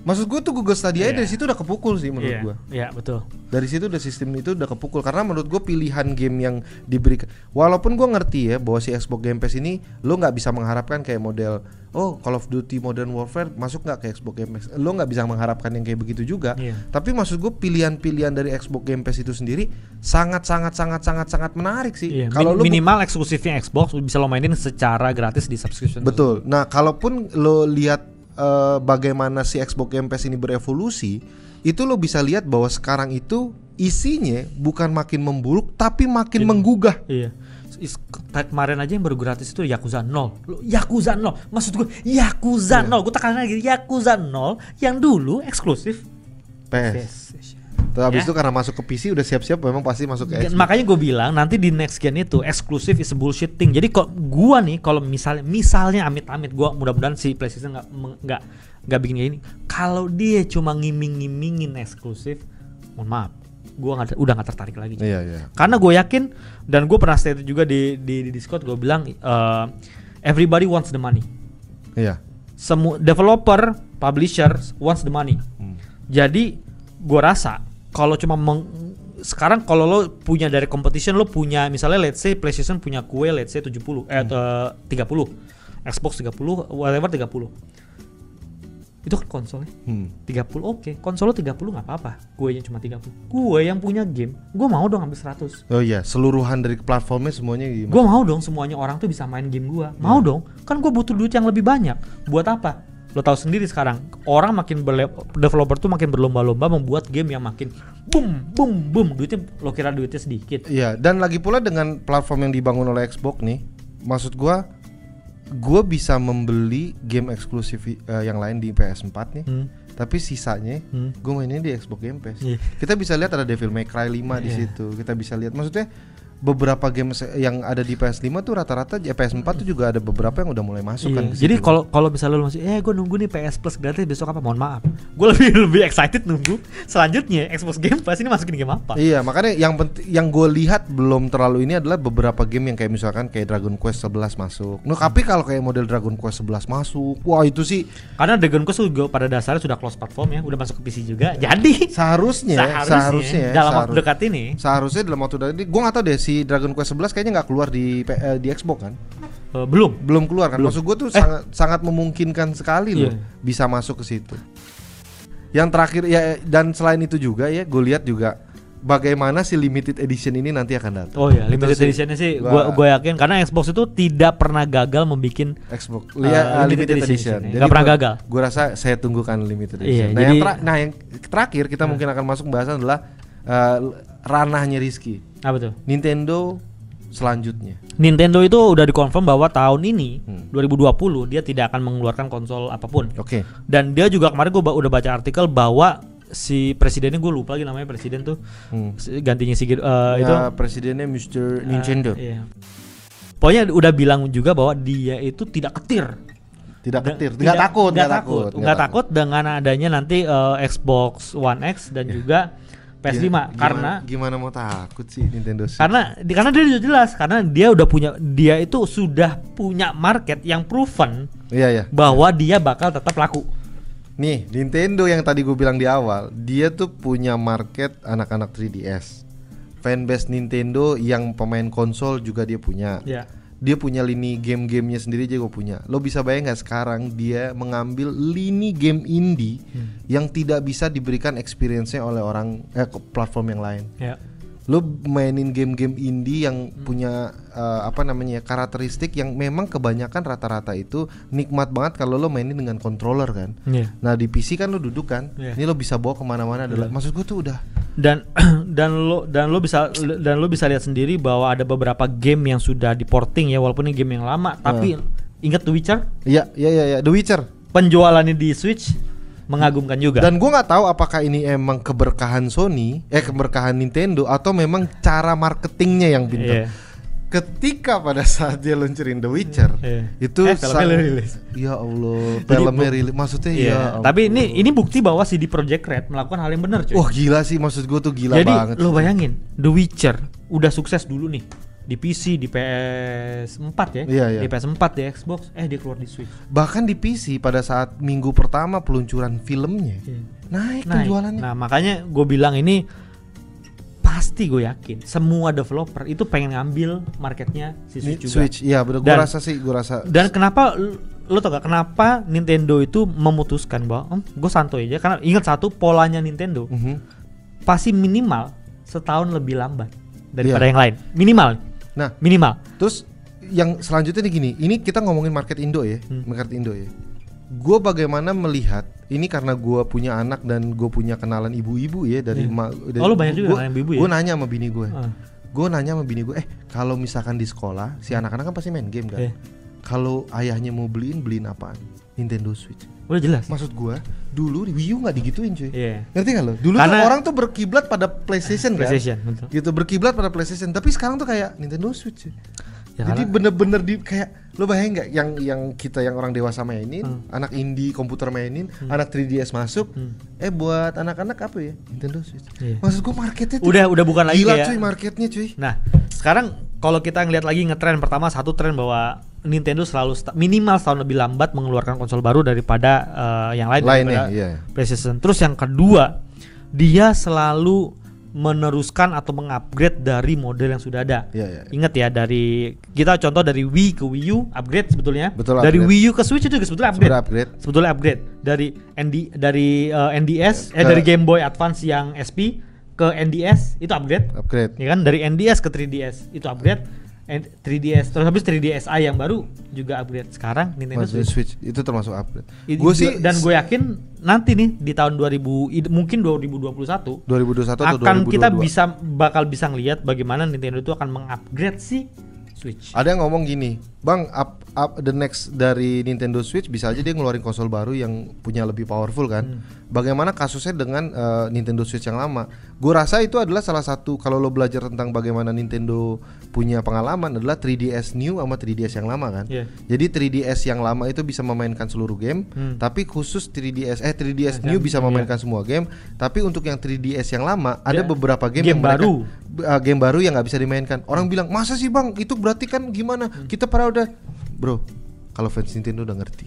S1: Maksud gue tuh Google Stadia
S2: Iya.
S1: dari situ udah kepukul sih menurut
S2: Iya.
S1: gua.
S2: Iya, betul.
S1: Dari situ udah sistem itu udah kepukul karena menurut gue pilihan game yang diberikan walaupun gua ngerti ya bahwa si Xbox Game Pass ini lo nggak bisa mengharapkan kayak model oh Call of Duty Modern Warfare masuk nggak ke Xbox Game Pass. Lo nggak bisa mengharapkan yang kayak begitu juga.
S2: Iya.
S1: Tapi maksud gue pilihan-pilihan dari Xbox Game Pass itu sendiri sangat sangat sangat sangat sangat menarik sih.
S2: Iya,
S1: Kalau
S2: min-
S1: lo bu-
S2: minimal eksklusifnya Xbox bisa lo mainin secara gratis di subscription.
S1: Betul. Nah, kalaupun lo lihat eh, bagaimana si Xbox Game Pass ini berevolusi, itu lo bisa lihat bahwa sekarang itu isinya bukan makin memburuk tapi makin menggugah.
S2: Iya. Is- kayak kemarin aja yang baru gratis itu Yakuza 0. Lu, Yakuza 0. Maksud gue Yakuza 0. Gue tekanan lagi Yakuza 0 yang dulu eksklusif.
S1: PS.
S2: PlayStation.
S1: Nah, Terus habis
S2: Ya.
S1: itu karena masuk ke PC udah siap-siap memang pasti masuk ke
S2: Dan
S1: Xbox.
S2: Iya, Makanya gue bilang nanti di next gen itu eksklusif is a bullshit thing. Jadi kok gua nih kalau misalnya misalnya amit-amit gua mudah-mudahan si PlayStation nggak meng- nggak nggak bikin kayak ini. Kalau dia cuma ngiming-ngimingin eksklusif, mohon maaf, gua nggak udah nggak tertarik lagi.
S1: Iya, iya.
S2: Karena gue yakin dan gue pernah state juga di di, di Discord gue bilang eh, everybody wants the money.
S1: Iya.
S2: Semua developer, publishers wants the money. Jadi gue rasa kalau cuma meng- sekarang kalau lo punya dari competition lo punya misalnya let's say PlayStation punya kue let's say 70 eh tiga 30 Xbox 30 whatever 30 itu kan konsolnya
S1: Hmm.
S2: 30 oke konsol lo 30 nggak apa-apa kuenya cuma 30 gue yang punya game gue mau dong ambil 100
S1: Oh iya, seluruhan dari platformnya semuanya gimana?
S2: Gue mau dong semuanya orang tuh bisa main game gua. Mau
S1: Iya.
S2: dong. Kan gue butuh duit yang lebih banyak. Buat apa? Lo tahu sendiri sekarang orang makin berle- developer tuh makin berlomba-lomba membuat game yang makin boom boom boom duitnya lo kira duitnya sedikit.
S1: Iya, dan lagi pula dengan platform yang dibangun oleh Xbox nih, maksud gua gua bisa membeli game eksklusif eh, yang lain di PS4 nih.
S2: Hmm.
S1: Tapi sisanya
S2: Hmm.
S1: gue mainnya di Xbox Game Pass.
S2: Iya.
S1: Kita bisa lihat ada Devil May Cry 5 di
S2: Iya.
S1: situ. Kita bisa lihat maksudnya beberapa game se- yang ada di PS5 tuh rata-rata ya, PS4 tuh juga ada beberapa yang udah mulai masuk kan.
S2: Iya.
S1: ke
S2: Jadi
S1: situ.
S2: kalau kalau misalnya lo masih eh gue nunggu nih PS Plus gratis besok apa mohon maaf. Gue lebih lebih excited nunggu selanjutnya Xbox Game Pass ini masukin game apa?
S1: Iya, makanya yang penting yang gue lihat belum terlalu ini adalah beberapa game yang kayak misalkan kayak Dragon Quest 11 masuk. Nah,
S2: Hmm.
S1: tapi kalau kayak model Dragon Quest 11 masuk, wah itu sih
S2: Karena Dragon Quest juga pada dasarnya sudah close platform ya, udah masuk ke PC juga. Jadi
S1: seharusnya seharusnya,
S2: dalam waktu
S1: seharus-
S2: dekat ini
S1: seharusnya dalam waktu dari gue nggak tahu deh si Dragon Quest 11 kayaknya nggak keluar di P- eh, di Xbox kan
S2: eh, belum Eh.
S1: belum keluar kan maksud gue tuh sangat sangat memungkinkan sekali loh
S2: Iya.
S1: bisa masuk ke situ yang terakhir ya dan selain itu juga ya gue lihat juga bagaimana si limited edition ini nanti akan datang
S2: Oh ya,
S1: Itu Gitu
S2: limited
S1: sih
S2: editionnya sih,
S1: gua-
S2: gua gua yakin karena Xbox itu tidak pernah gagal membuat
S1: Xbox
S2: Eh,
S1: Lihat, uh, limited
S2: limited edition
S1: edition.
S2: ya. Nggak pernah gagal.
S1: Gue rasa saya tunggukan limited edition.
S2: Iya,
S1: nah, yang
S2: jadi- Hmm.
S1: tera- nah, yang terakhir kita mungkin akan masuk pembahasan adalah eh, ranahnya Rizky.
S2: apa tuh?
S1: Nintendo selanjutnya.
S2: Nintendo itu udah dikonfirm bahwa tahun ini
S1: Hmm.
S2: 2020 dia tidak akan mengeluarkan konsol apapun.
S1: Oke.
S2: Dan dia juga kemarin gua ba- udah baca artikel bahwa si presidennya gue lupa lagi namanya presiden tuh
S1: Hmm.
S2: si- gantinya si Gir- eh, itu
S1: Ya, presidennya Mr. Nintendo.
S2: Eh, iya. Pokoknya udah bilang juga bahwa dia itu tidak ketir
S1: Tidak
S2: Dan-
S1: ketir, tidak takut,
S2: nggak takut, nggak takut dengan adanya nanti eh, Xbox One X
S1: Iya.
S2: dan juga PS5
S1: Gimana-
S2: karena
S1: Iya.
S2: Kan-
S1: gimana mau takut sih Nintendo sih?
S2: karena di- karena dia udah jelas karena dia udah punya dia itu sudah punya market yang proven
S1: Iya ya.
S2: bahwa dia bakal tetap laku.
S1: Nih, Nintendo yang tadi gue bilang di awal, dia tuh punya market anak-anak 3DS. Fanbase Nintendo yang pemain konsol juga dia punya.
S2: Ya.
S1: Dia punya lini game-gamenya sendiri aja gue punya. Lo bisa bayang nggak sekarang dia mengambil lini game indie yang tidak bisa diberikan experience-nya oleh orang eh, ke platform yang lain.
S2: Ya.
S1: Lo mainin game-game indie yang punya eh, apa namanya ya, karakteristik yang memang kebanyakan rata-rata itu nikmat banget kalau lo mainin dengan controller
S2: Hmm.
S1: kan. Nah di PC kan lo duduk kan,
S2: Iya.
S1: ini lo bisa bawa kemana-mana. adalah Maksud gue tuh udah
S2: Dan dan lo dan lo bisa dan lo bisa lihat sendiri bahwa ada beberapa game yang sudah diporting ya walaupun ini game yang lama tapi ingat The Witcher
S1: Iya, iya, iya, iya. The Witcher.
S2: penjualannya di Switch mengagumkan juga.
S1: Dan gua nggak tahu apakah ini emang keberkahan Sony, eh keberkahan Nintendo atau memang cara marketingnya yang pintar.
S2: Iya.
S1: ketika pada saat dia luncurin The Witcher
S2: Iya.
S1: itu
S2: Eh,
S1: sa-
S2: filmnya rilis.
S1: ya Allah
S2: Jadi
S1: filmnya
S2: bu-
S1: rilis maksudnya
S2: Iya,
S1: ya ampun.
S2: tapi ini ini bukti bahwa CD Projekt Red melakukan hal yang benar, cuy.
S1: wah gila sih maksud gue tuh gila
S2: Jadi
S1: banget
S2: lo bayangin, The Witcher udah sukses dulu nih di PC, di PS4 ya,
S1: Iya, iya.
S2: di PS4, di Xbox, eh dia keluar di Switch.
S1: bahkan di PC pada saat minggu pertama peluncuran filmnya
S2: Iya.
S1: naik,
S2: Nah,
S1: penjualannya
S2: Nah, makanya gue bilang ini pasti gue yakin semua developer itu pengen ngambil marketnya si
S1: Ini
S2: Switch juga.
S1: Switch iya bener gue
S2: Dan-
S1: rasa sih gue rasa
S2: Dan kenapa lo tau gak kenapa Nintendo itu memutuskan bahwa gue santuy aja karena ingat satu polanya Nintendo
S1: Mhm.
S2: pasti minimal setahun lebih lambat daripada
S1: Iya.
S2: yang lain minimal
S1: nah
S2: minimal
S1: Terus yang selanjutnya nih gini, ini kita ngomongin market Indo ya,
S2: Hmm.
S1: market Indo ya. Gue bagaimana melihat ini karena gue punya anak dan gue punya kenalan ibu-ibu ya dari
S2: Iya.
S1: ma- dari-
S2: lu banyak juga
S1: gua-
S2: kenalan ibu-ibu ya?
S1: Gua nanya sama bini gue.
S2: Ah.
S1: Gue nanya sama bini gue, eh kalau misalkan di sekolah si
S2: Hmm.
S1: anak-anak kan pasti main game kan.
S2: Iya.
S1: Kalau ayahnya mau beliin beliin apaan? Nintendo Switch.
S2: udah jelas
S1: Maksud gue, dulu di Wii U nggak digituin cuy.
S2: Iya.
S1: Ngerti gak lo? Dulu tuh
S2: Karena-
S1: orang tuh berkiblat pada PlayStation,
S2: PlayStation
S1: kan.
S2: betul
S1: Gitu berkiblat pada PlayStation, tapi sekarang tuh kayak Nintendo Switch. cuy.
S2: Ya,
S1: Jadi
S2: karena-
S1: bener-bener di kayak lo bayangin nggak yang yang kita yang orang dewasa mainin,
S2: Hmm.
S1: anak indie komputer mainin, anak 3DS masuk, eh buat anak-anak apa ya Nintendo Switch.
S2: Iya.
S1: Maksud gua marketnya tuh
S2: udah udah bukan lagi
S1: gila
S2: kayak
S1: cuy marketnya cuy.
S2: nah sekarang kalau kita ngelihat lagi ngetren pertama satu tren bahwa Nintendo selalu sta- minimal setahun lebih lambat mengeluarkan konsol baru daripada eh, yang lain
S1: Lainnya,
S2: daripada
S1: iya.
S2: PlayStation. Terus yang kedua, dia selalu meneruskan atau mengupgrade dari model yang sudah ada.
S1: Iya, iya.
S2: Ingat ya dari kita contoh dari Wii ke Wii U upgrade sebetulnya.
S1: Betul,
S2: dari
S1: upgrade.
S2: Wii U ke Switch itu juga sebetulnya upgrade.
S1: Sebenarnya upgrade.
S2: Sebetulnya upgrade dari ND dari eh, NDS eh
S1: Ke-
S2: dari Game Boy Advance yang SP ke NDS itu upgrade.
S1: Upgrade.
S2: Ya kan dari NDS ke 3DS itu upgrade. And 3DS terus habis 3DSi yang baru juga upgrade. Sekarang Nintendo
S1: Maksudnya Switch
S2: Switch
S1: itu termasuk upgrade.
S2: I-
S1: Gue
S2: gua-
S1: sih
S2: dan gue yakin nanti nih di tahun 2000 id- mungkin 2021
S1: 2021 atau
S2: akan kita
S1: 2022.
S2: bisa bakal bisa ngelihat bagaimana Nintendo itu akan mengupgrade si Switch.
S1: Ada yang ngomong gini, bang, up, up the next dari Nintendo Switch bisa aja dia ngeluarin konsol baru yang punya lebih powerful kan?
S2: Hmm.
S1: Bagaimana kasusnya dengan eh, Nintendo Switch yang lama? Gue rasa itu adalah salah satu kalau lo belajar tentang bagaimana Nintendo punya pengalaman adalah 3DS new sama 3DS yang lama kan?
S2: Iya.
S1: Jadi 3DS yang lama itu bisa memainkan seluruh game,
S2: Hmm.
S1: tapi khusus 3DS eh 3DS
S2: Nah,
S1: new
S2: iya.
S1: bisa memainkan semua game, tapi untuk yang 3DS yang lama ada
S2: Dia-
S1: beberapa game,
S2: Iya.
S1: yang
S2: game
S1: mereka-
S2: baru.
S1: B- uh, game baru yang nggak bisa dimainkan. Orang bilang masa sih bang, itu berarti kan gimana?
S2: Hmm.
S1: Kita para udah, bro. Kalau fans Nintendo udah ngerti,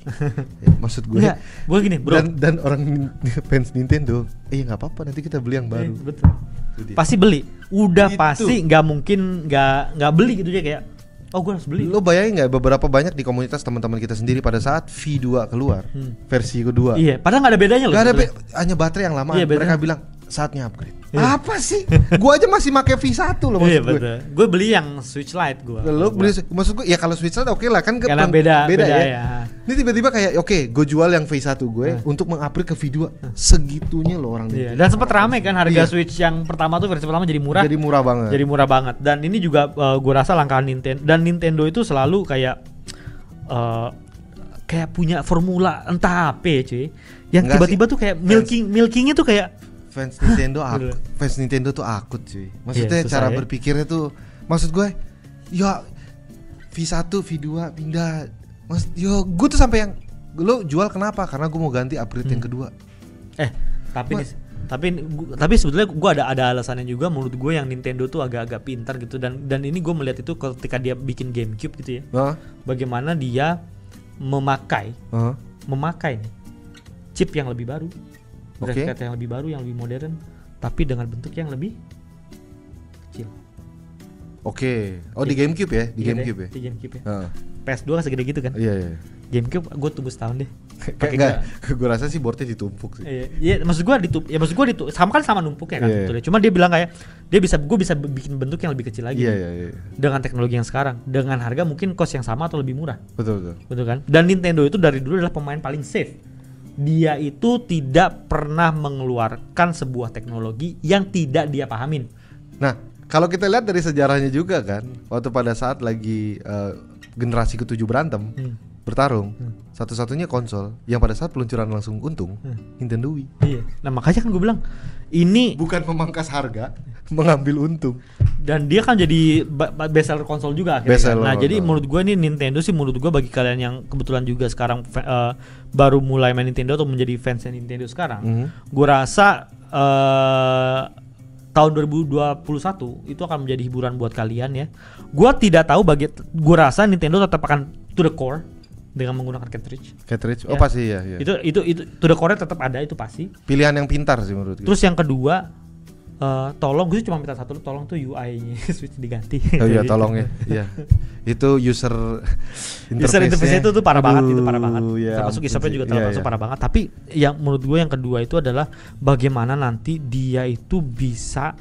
S1: Ya, maksud gue.
S2: Enggak, gue Iya. gini, Bro.
S1: Dan dan orang nin- fans Nintendo, eh ya nggak apa-apa nanti kita beli yang
S2: Eh,
S1: baru.
S2: betul.
S1: Itu dia.
S2: Pasti beli. Udah
S1: Itu.
S2: pasti nggak mungkin nggak nggak beli gitu dia kayak oh gue harus beli.
S1: Lo bayangin nggak beberapa banyak di komunitas teman-teman kita sendiri pada saat V2 keluar, versi kedua.
S2: Hmm. Iya, padahal nggak ada bedanya loh.
S1: Gak ada be-
S2: sebetulnya.
S1: hanya baterai yang lama.
S2: Iya, baterai.
S1: Mereka bilang saatnya upgrade.
S2: Iya.
S1: Apa sih? gua aja masih pakai V1 loh maksud
S2: Iya,
S1: gue.
S2: betul. Gue beli yang Switch Lite gue.
S1: Lo beli, maksud gue ya kalau Switch Lite oke lah kan ke-
S2: Karena
S1: pen-
S2: beda, beda
S1: ya.
S2: ya.
S1: Ini tiba-tiba kayak oke gue jual yang V1 gue untuk mengupgrade ke V2 segitunya loh orang
S2: Hmm. Iya,
S1: Nintendo.
S2: dan sempat rame kan harga
S1: Iya.
S2: Switch yang pertama tuh versi pertama jadi murah.
S1: Jadi murah banget.
S2: Jadi murah banget. Dan ini juga eh, gua rasa langkah Nintendo dan Nintendo itu selalu kayak eh, kayak punya formula entah apa ya, cuy. Yang
S1: Enggak
S2: tiba-tiba tuh kayak milking milkingnya tuh kayak
S1: fans Nintendo
S2: Bener.
S1: akut, fans Nintendo tuh akut cuy. Maksudnya
S2: Iya, susah
S1: cara
S2: ya.
S1: berpikirnya tuh maksud gue ya V1, V2 pindah. Mas, yo gue tuh sampai yang lo jual kenapa? Karena gue mau ganti upgrade
S2: Hmm.
S1: yang kedua.
S2: eh tapi
S1: Ma-
S2: nih- tapi gua- tapi sebetulnya gua ada ada alasannya juga menurut gue yang Nintendo tuh agak-agak pintar gitu dan dan ini gue melihat itu ketika dia bikin GameCube gitu ya.
S1: Hah?
S2: Bagaimana dia memakai
S1: Hah?
S2: memakai nih chip yang lebih baru,
S1: Oke.
S2: grafik kartu yang lebih baru, yang lebih modern, tapi dengan bentuk yang lebih kecil.
S1: Oke. Oh di GameCube ya, di
S2: Iya deh,
S1: GameCube ya.
S2: Di GameCube ya.
S1: Heeh.
S2: PS2 kan segede gitu kan.
S1: Iya iya.
S2: GameCube gue tunggu setahun deh.
S1: Kayak
S2: Pakai
S1: enggak,
S2: gua-
S1: gue rasa sih boardnya ditumpuk sih.
S2: Iya, iya, maksud gua ditup, ya maksud gua ditup, sama kan sama numpuknya
S1: Iya,
S2: kan
S1: iya.
S2: sebetulnya. Cuma dia bilang kayak dia bisa gue bisa bikin bentuk yang lebih kecil lagi
S1: Iya iya iya.
S2: dengan teknologi yang sekarang, dengan harga mungkin cost yang sama atau lebih murah.
S1: Betul betul.
S2: betul kan? Dan Nintendo itu dari dulu adalah pemain paling safe. Dia itu tidak pernah mengeluarkan sebuah teknologi yang tidak dia pahamin.
S1: Nah, kalau kita lihat
S2: Hmm.
S1: dari sejarahnya juga kan, waktu pada saat lagi eh, generasi ketujuh berantem, bertarung satu-satunya konsol yang pada saat peluncuran langsung untung
S2: Hmm.
S1: Nintendo Wii
S2: Iya. Nah makanya kan gue bilang ini
S1: bukan memangkas harga mengambil untung
S2: dan dia kan jadi ba- ba- best seller konsol juga akhirnya.
S1: Best
S2: kan.
S1: seller
S2: Nah jadi
S1: konsol.
S2: menurut gue ini Nintendo sih menurut gue bagi kalian yang kebetulan juga sekarang fa- eh, baru mulai main Nintendo atau menjadi fansnya Nintendo sekarang,
S1: Mhm.
S2: gue rasa eh tahun 2021 itu akan menjadi hiburan buat kalian ya. Gue tidak tahu bagi gue rasa Nintendo tetap akan to the core dengan menggunakan cartridge.
S1: cartridge oh
S2: Ya.
S1: pasti ya, ya.
S2: Itu itu itu to the core tetap ada itu pasti.
S1: pilihan yang pintar sih menurut gue
S2: Terus yang kedua, eh, tolong gue sih cuma minta satu, tolong tuh UI-nya Switch diganti.
S1: oh iya tolong ya iya itu user
S2: User interface itu tuh parah banget, itu parah banget.
S1: Aduh, ya
S2: Termasuk
S1: ampun
S2: e-shopnya
S1: sih.
S2: juga
S1: Iya,
S2: termasuk
S1: iya.
S2: parah banget. Tapi yang menurut gue yang kedua itu adalah bagaimana nanti dia itu bisa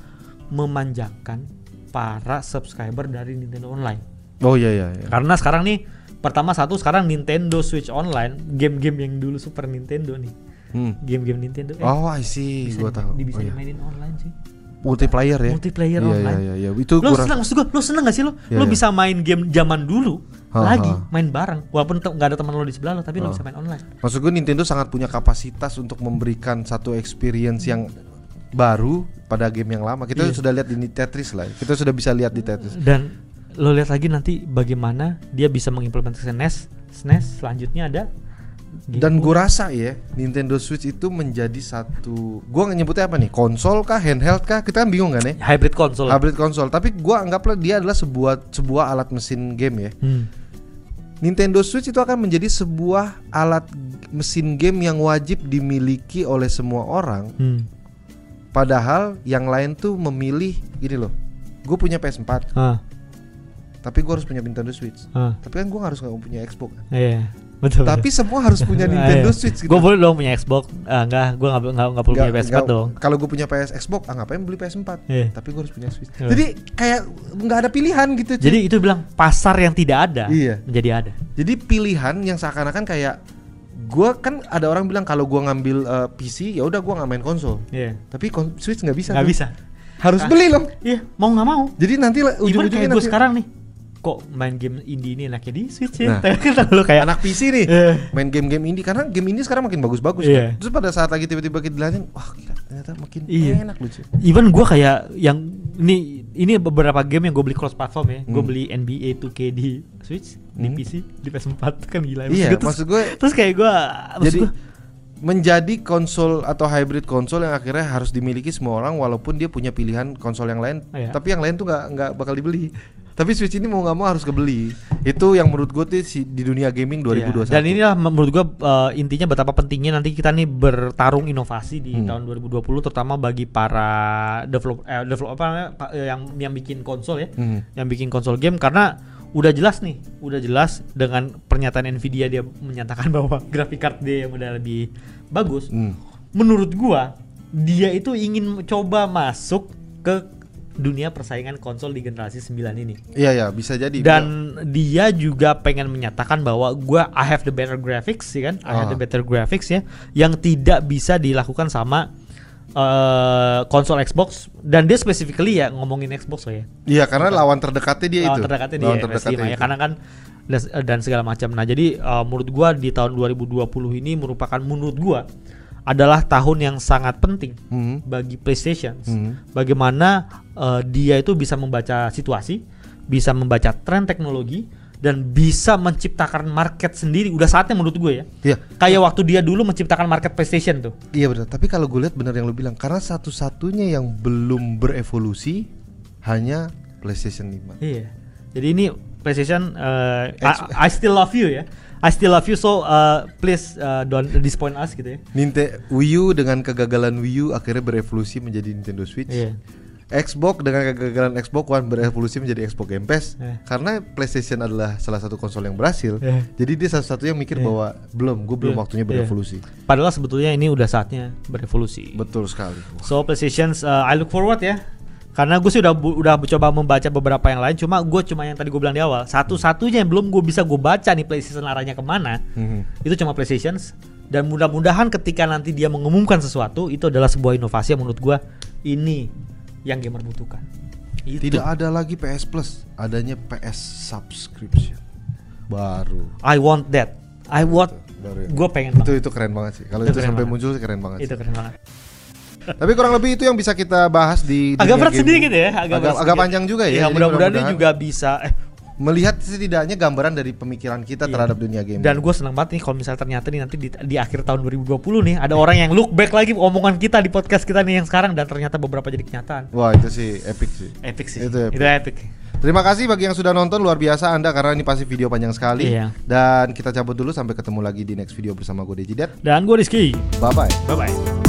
S2: memanjakan para subscriber dari Nintendo Online.
S1: oh iya iya, iya.
S2: Karena sekarang nih pertama satu sekarang Nintendo Switch Online game-game yang dulu Super Nintendo nih
S1: Hmm.
S2: game-game Nintendo eh,
S1: oh I see
S2: bisa
S1: gue
S2: di-
S1: tahu
S2: di- bisa
S1: Oh, iya.
S2: dimainin online sih
S1: multiplayer ya
S2: Multiplayer
S1: Iya,
S2: online.
S1: iya iya iya itu
S2: lo
S1: kurang
S2: seneng maksud gue lo seneng gak sih lo
S1: Iya,
S2: lo
S1: iya.
S2: bisa main game zaman dulu
S1: Ha,
S2: lagi
S1: ha.
S2: main bareng walaupun te- nggak ada teman lo di sebelah lo tapi lo
S1: Ha.
S2: bisa main online
S1: Maksud gue Nintendo sangat punya kapasitas untuk memberikan satu experience yang baru pada game yang lama. Kita
S2: Iya.
S1: sudah lihat di Tetris lah. ya. Kita sudah bisa lihat di Tetris.
S2: dan lo lihat lagi nanti bagaimana dia bisa mengimplementasikan NES SNES E selanjutnya ada Game
S1: Dan gue
S2: Boy.
S1: rasa ya Nintendo Switch itu menjadi satu Gue nyebutnya apa nih? Konsol kah? Handheld kah? Kita kan bingung kan ya?
S2: hybrid konsol
S1: Hybrid konsol. Tapi gue anggaplah dia adalah sebuah sebuah alat mesin game ya.
S2: Hmm.
S1: Nintendo Switch itu akan menjadi sebuah alat mesin game yang wajib dimiliki oleh semua orang
S2: Hmm.
S1: Padahal yang lain tuh memilih gini loh. Gue punya PS4,
S2: Ah,
S1: tapi gue harus punya Nintendo Switch.
S2: ah,
S1: Tapi kan gue harus nggak punya Xbox. kan?
S2: iya betul
S1: Tapi semua harus punya Nintendo Switch gitu.
S2: gue boleh dong punya Xbox ah, enggak gue nggak nggak nggak perlu
S1: Nggak-
S2: punya PS4
S1: nggak-
S2: dong
S1: Kalau gue punya PS Xbox, ah ngapain beli PS4?
S2: Iya.
S1: Tapi gue harus punya Switch.
S2: Iya.
S1: Jadi kayak nggak ada pilihan gitu. cuy.
S2: jadi itu bilang pasar yang tidak ada
S1: Iya.
S2: menjadi ada
S1: Jadi pilihan yang seakan-akan kayak gue kan ada orang bilang kalau gue ngambil eh, PC ya udah gue nggak main konsol.
S2: iya
S1: Tapi kon- Switch nggak bisa.
S2: nggak
S1: tuh.
S2: bisa
S1: Harus beli loh.
S2: iya mau nggak mau
S1: Jadi nanti lah
S2: Even kayak
S1: ujung-ujungnya
S2: gue
S1: nanti-
S2: sekarang nih kok main game indie ini enaknya di Switch
S1: Nah.
S2: ya kan lu kayak
S1: anak PC nih
S2: Iya.
S1: main game-game indie karena game indie sekarang makin bagus-bagus kan.
S2: Iya.
S1: Terus pada saat lagi tiba-tiba kita dilanjutin, wah gila, ternyata makin
S2: Iya.
S1: enak lucu.
S2: even gue kayak yang ini ini beberapa game yang gue beli cross platform ya gue
S1: Hmm.
S2: beli NBA 2K di Switch di
S1: Hmm.
S2: PC di PS4 kan gila
S1: Iya,
S2: gua terus,
S1: maksud gue
S2: terus kayak gue
S1: jadi menjadi konsol atau hybrid konsol yang akhirnya harus dimiliki semua orang walaupun dia punya pilihan konsol yang lain,
S2: Iya.
S1: tapi yang lain tuh nggak nggak bakal dibeli. Tapi Switch ini mau nggak mau harus kebeli. Itu yang menurut gue tuh si- di dunia gaming 2021.
S2: Iya. Dan inilah menurut gua uh, intinya betapa pentingnya nanti kita nih bertarung inovasi di
S1: Hmm.
S2: tahun 2020 terutama bagi para develop eh, develop- apa namanya, pa- eh, yang yang bikin konsol ya.
S1: Hmm.
S2: Yang bikin konsol game karena udah jelas nih, udah jelas dengan pernyataan Nvidia dia menyatakan bahwa graphic card dia yang udah lebih bagus.
S1: Hmm.
S2: Menurut gua dia itu ingin coba masuk ke dunia persaingan konsol di generasi 9 ini
S1: Iya ya, bisa jadi.
S2: dan dia juga pengen menyatakan bahwa gua I have the better graphics ya kan I have
S1: Ah.
S2: the better graphics ya yang tidak bisa dilakukan sama eh, konsol Xbox dan dia specifically ya ngomongin Xbox loh ya
S1: Iya, karena lawan terdekatnya dia
S2: lawan
S1: Iya, itu.
S2: terdekatnya dia
S1: lawan
S2: ya,
S1: terdekatnya
S2: PS5 ya
S1: itu.
S2: karena kan dan, dan segala macam nah jadi eh, menurut gua di tahun 2020 ini merupakan menurut gua adalah tahun yang sangat penting
S1: Hmm.
S2: bagi PlayStation.
S1: Hmm.
S2: Bagaimana eh, dia itu bisa membaca situasi, bisa membaca tren teknologi dan bisa menciptakan market sendiri. Udah saatnya menurut gue ya.
S1: Iya.
S2: Kayak waktu dia dulu menciptakan market PlayStation tuh.
S1: Iya benar, tapi kalau gue lihat benar yang lu bilang karena satu-satunya yang belum berevolusi hanya PlayStation 5.
S2: Iya. Jadi ini PlayStation eh, I, I still love you ya. I still love you so eh, please eh, don't disappoint us gitu ya.
S1: Ninte Wii U dengan kegagalan Wii U akhirnya berevolusi menjadi Nintendo Switch.
S2: Iya.
S1: Xbox dengan kegagalan Xbox One berevolusi menjadi Xbox Game Pass
S2: Iya.
S1: karena PlayStation adalah salah satu konsol yang berhasil.
S2: Iya.
S1: Jadi dia satu-satunya mikir
S2: Iya.
S1: bahwa belum, gue belum
S2: Iya.
S1: waktunya
S2: Iya.
S1: berevolusi.
S2: Padahal sebetulnya ini udah saatnya berevolusi.
S1: Betul sekali.
S2: So PlayStation uh, I look forward ya. Karena gue sih udah bu- udah coba membaca beberapa yang lain, cuma gue cuma yang tadi gue bilang di awal satu-satunya yang belum gue bisa gue baca nih PlayStation arahnya kemana
S1: Mhm.
S2: itu cuma PlayStation dan mudah-mudahan ketika nanti dia mengumumkan sesuatu itu adalah sebuah inovasi yang menurut gue ini yang gamer butuhkan. Itu.
S1: Tidak ada lagi PS Plus, adanya PS Subscription. baru
S2: I want that. I want.
S1: baru ya.
S2: Gue pengen
S1: itu
S2: banget.
S1: itu keren banget sih kalau
S2: Itu
S1: itu,
S2: keren
S1: sampai
S2: banget.
S1: muncul sih keren banget
S2: Itu
S1: sih.
S2: keren banget.
S1: tapi kurang lebih itu yang bisa kita bahas di
S2: Agak
S1: dunia
S2: berat
S1: gaming.
S2: sedikit ya.
S1: agak,
S2: berat
S1: agak,
S2: sedikit.
S1: panjang juga ya
S2: Iya,
S1: jadi
S2: mudah-mudahan dia
S1: mudah-mudahan
S2: juga bisa. Eh,
S1: melihat setidaknya gambaran dari pemikiran kita
S2: Iya.
S1: terhadap dunia gaming
S2: dan gue senang banget nih kalau misalnya ternyata nih nanti di, di akhir tahun 2020 nih ada orang yang look back lagi omongan kita di podcast kita nih yang sekarang dan ternyata beberapa jadi kenyataan.
S1: wah itu sih epic sih
S2: Epic sih.
S1: Itu epic.
S2: Itu epic.
S1: Terima kasih bagi yang sudah nonton luar biasa Anda karena ini pasti video panjang sekali
S2: Iya.
S1: dan kita cabut dulu sampai ketemu lagi di next video bersama gue Dejidet.
S2: Dan gue Rizky.
S1: Bye bye.
S2: Bye bye.